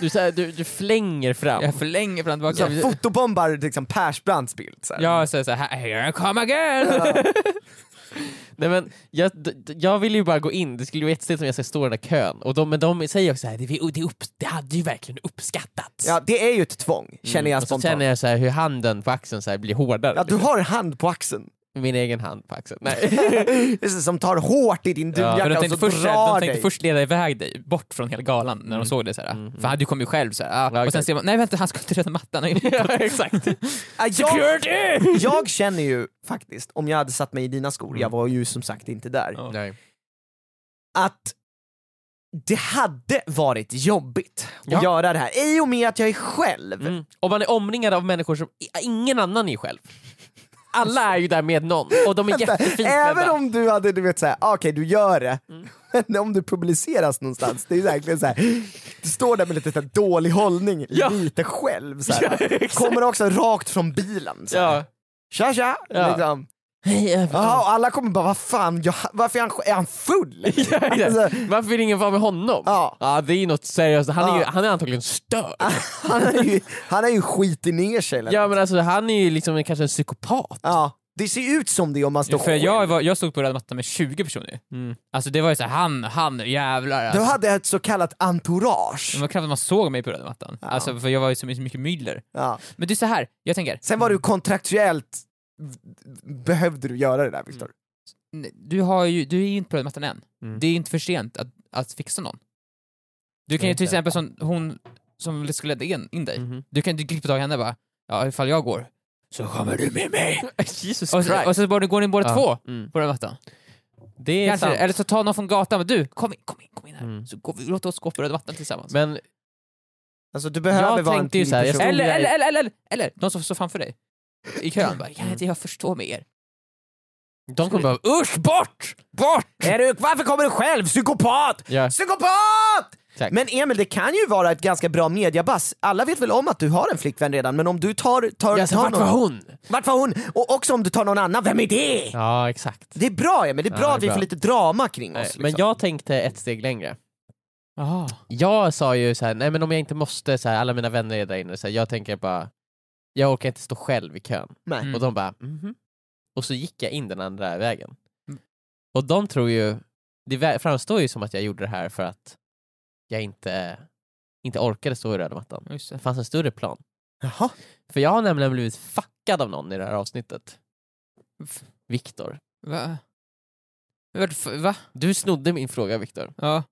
B: Du, så här, du, du flänger fram.
C: Jag förlänger fram och
D: Så
C: tillbaka.
D: här, fotobombar liksom Persbrandts bild. Så här.
C: Jag säger såhär, here I come again!
B: Nej, men jag, d- d- jag ville ju bara gå in, det skulle vara jättestelt om jag ska stå i den där kön. Och de, men de säger också såhär, det, vi- det, upp, det hade ju verkligen uppskattats.
D: Ja, det är ju ett tvång,
C: Mm,
D: känner jag
B: och så
D: spontant.
B: känner jag så här, hur handen på axeln så här blir hårdare.
D: Ja, du har en hand på axeln
B: Min egen hand på axeln. Nej.
D: Just det, som tar hårt i din dunjacka
B: alltså,
C: För de
D: och så
C: tänkte, först,
D: drar
C: de tänkte
D: dig.
C: först leda iväg dig bort från hela galan när de såg det. Såhär. För han, du kom ju själv såhär. Ah. och sen
B: Mm. exakt.
C: ser man, nej vänta han skulle till röda mattan.
B: exakt.
D: Ja, jag, jag känner ju faktiskt, om jag hade satt mig i dina skor, jag var ju som sagt inte där,
C: Mm. Ja.
B: Nej.
D: att det hade varit jobbigt
B: Ja.
D: att göra det här i och med att jag är själv.
B: Mm. Om man är omringad av människor som i- ingen annan är själv. Alla är ju där med någon och de är jättefint Mm.
D: Även
B: klädda.
D: om du hade du vet såhär, okej du gör det, men om du publiceras någonstans, det är verkligen såhär, du står där med lite så här dålig hållning, lite själv såhär. Kommer också rakt från bilen. Så här.
B: Ja.
D: Tja tja!
B: Ja.
D: Liksom.
B: Hej, jag-
D: Jaha, och alla kommer bara, vad fan, jag, varför är han, är han full?
B: Exakt.
D: Alltså,
B: Varför vill ingen vara med honom?
D: Ja.
B: det är något seriöst. Han är, ju,
D: Ja.
B: han är antagligen störd.
D: han har ju, han har ju skitit ner sig. Eller?
B: Ja men alltså han är ju liksom en- kanske en psykopat.
D: Ja. Det ser ut som det om man står
C: För jag, var, jag stod på röda mattan med 20 personer.
B: Mm.
C: Alltså det var ju såhär, han, han, jävlar alltså.
D: Du hade ett så kallat entourage.
C: Det
B: Mm.
C: var knappt att man såg mig på röda mattan. Alltså för jag var ju så mycket myller.
D: Ja.
C: Men det är så här, jag tänker,
D: Sen var du kontraktuellt, behövde du göra det där Viktor?
C: n- du, har ju, du är ju inte på röda mattan än.
B: Mm.
C: Det är inte för sent att, att fixa någon. Du kan
B: Nej,
C: ju till
B: inte.
C: exempel, som hon som skulle leda in, in dig,
B: Mhm.
C: du kan ju gripa tag i henne och bara, ja ifall jag går, så kommer du med mig.
B: Jesus
C: Och så, och så bara, går ni båda
B: Ja.
C: två
B: Mm.
C: på röda mattan.
B: Det är
C: Kanske,
B: sant.
C: eller så ta någon från gatan, men du, kom in, kom in, kom in här.
B: Mm.
C: Så går vi, låt oss gå på röda mattan tillsammans.
B: Men
D: Alltså du behöver
B: Jag
D: vara en
B: tänkte ju
D: till
B: så här, jag
D: person.
B: stod-
C: eller,
B: jag-
C: eller, eller, eller, eller, de som står framför dig i kön bara, kan inte jag förstå med er?
B: de kommer behöva...
C: Usch, bort! Bort!
D: Är du, varför kommer du själv? Psykopat!
B: Ja.
D: Psykopat!
B: Tack.
D: Men Emil, det kan ju vara ett ganska bra mediabass. Alla vet väl om att du har en flickvän redan, men om du tar, tar,
B: Ja, så
D: tar
B: vart var hon?
D: Vart var hon? Och också om du tar någon annan, vem är det?
B: Ja, exakt.
D: Det är bra Emil, det är
B: Ja,
D: bra
B: det är
D: att vi
B: bra.
D: får lite drama kring
B: Nej,
D: oss.
B: Men
D: liksom.
B: jag tänkte ett steg längre.
C: Jaha.
B: Jag sa ju så här, nej men om jag inte måste, så här, alla mina vänner är där inne, så här, jag tänker bara, jag orkar inte stå själv i kön.
D: Nej.
C: Mm.
B: Och de bara, mhm. Och så gick jag in den andra vägen. Och de tror ju, det vä- framstår ju som att jag gjorde det här för att jag inte, inte orkade stå i röda mattan.
C: Just
B: Det
C: det.
B: fanns en större plan.
D: Jaha.
B: För jag har nämligen blivit fuckad av någon i det här avsnittet.
C: F-
B: Viktor.
C: Va? Varför- Va?
B: Du snodde min fråga Viktor.
C: Ja.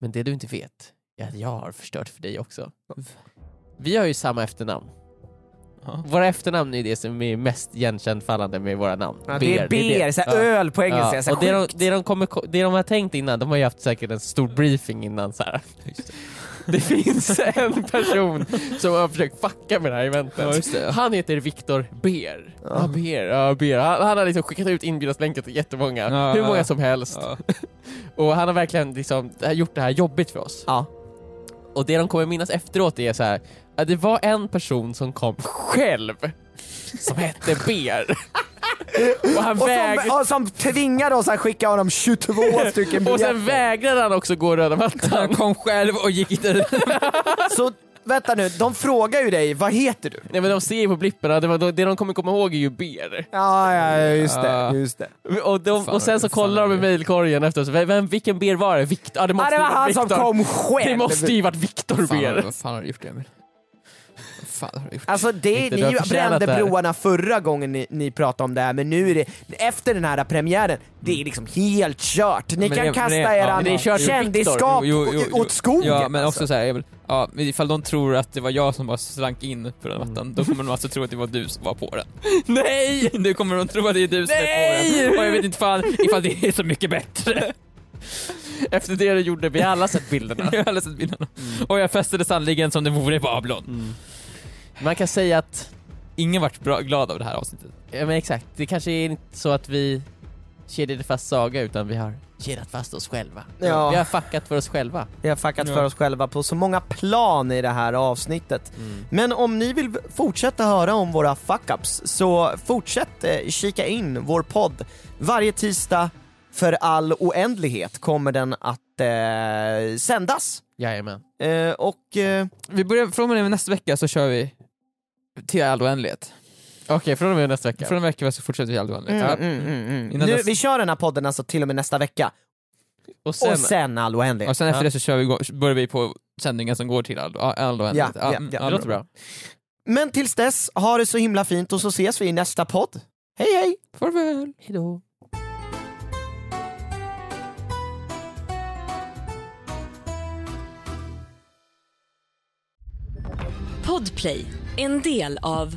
B: Men det du inte vet är att jag har förstört för dig också. Vi har ju samma efternamn.
C: Ja.
B: Våra efternamn är det som är mest igenkännfallande med våra namn.
D: Ja, det är beer, så här,
B: Ja.
D: öl på engelska.
B: Ja,
D: så här,
B: och det, de, det, de kommer, ko- det de har tänkt innan, de har ju haft säkert en stor briefing innan så här. Det finns en person som har försökt fucka med det här eventet. Han heter Viktor Beer. Ja.
D: Ja.
B: Beer, ja, Beer. Han, han har liksom skickat ut inbjudanslänken till jättemånga,
C: Ja,
B: hur många
C: ja.
B: som helst.
C: Ja.
B: Och han har verkligen liksom det här- gjort det här jobbigt för oss.
D: Ja.
B: Och det de kommer minnas efteråt är så här. att det var en person som kom själv som hette Beer. och han
D: Och
B: väg...
D: som, och som tvingade oss att skicka honom 22 stycken
B: Och
D: biljetter.
B: sen vägrade han också gå röda mattan.
C: Han kom själv och gick inte
D: Så vänta nu, de frågar ju dig, vad heter du?
B: Nej men de ser ju på blipparna, det, var, det de kommer komma ihåg är ju Beer.
D: Ja, ja just det.
C: Ja.
D: Just det.
B: Och, de,
C: Fan,
B: och sen så
C: vad-
B: kollar
C: fan
B: de i
C: är
B: mejlkorgen efter så, vem, vilken Beer var det? Viktor? Ja, det,
D: Ja,
B: måste
D: det var
B: ju varit
D: han som
B: Viktor.
D: kom själv.
B: Det måste ju varit Viktor
C: Fan,
B: Beer.
C: vad fan har du gjort Emil? Vad fan har du gjort?
D: Alltså det,
B: Inte, du har
D: ni
B: förtjänat
D: brände
B: det här.
D: broarna förra gången ni, ni pratade om det här, men nu är det, efter den här premiären, det är liksom helt kört. Ni
C: Men
D: kan
C: det-
D: kasta
C: det- ja,
D: eran
C: men det är kört för
D: kändisskap
C: Jo, jo, jo,
D: åt skogen.
C: Ja, men
D: alltså.
C: också så här, Emil. Ja, men ifall de tror att det var jag som bara slank in på den mattan, då kommer de alltså tro att det var du som var på den. Nej! Nu kommer de tro att det är du som är på den. Och jag vet inte fan ifall det är så mycket bättre.
B: Efter det du gjorde, vi har alla sett bilderna.
C: Jag har läst bilderna. Mm. Och jag festade sannoliken som det vore Babylon.
B: Man kan säga att,
C: Ingen vart bra, glad av det här avsnittet.
B: ja men exakt, det kanske är inte så att vi kedjade fast Saga utan vi har kedjat fast oss själva.
D: Ja.
B: Vi har fuckat för oss själva.
D: Vi har fuckat
C: Ja.
D: för oss själva på så många plan i det här avsnittet.
C: Mm.
D: Men om ni vill fortsätta höra om våra fuck-ups så fortsätt eh, kika in vår podd. Varje tisdag för all oändlighet kommer den att eh, sändas.
B: Jajamän.
D: Eh, och eh,
C: Vi börjar, från och med nästa vecka så kör vi till all oändlighet.
B: Okej, från och med nästa vecka.
C: Från och med vecka så fortsätter vi till all oändlighet.
D: Mm,
C: Ja.
D: mm, mm, mm.
C: Innan
D: Nu,
C: dess-
D: vi kör den här podden alltså till och med nästa vecka,
B: och sen,
D: och sen all
C: Och
D: oändlighet.
C: sen efter
B: Ja.
C: det så kör vi, igång- börjar vi på sändningen som går till all, all
D: Ja,
C: oändlighet.
D: ja,
C: mm,
D: ja.
C: all-
B: det låter bra.
D: Men tills dess, ha det så himla fint och så ses vi i nästa podd. Hej hej!
C: Farväl!
B: Hejdå.
E: Podplay, en del av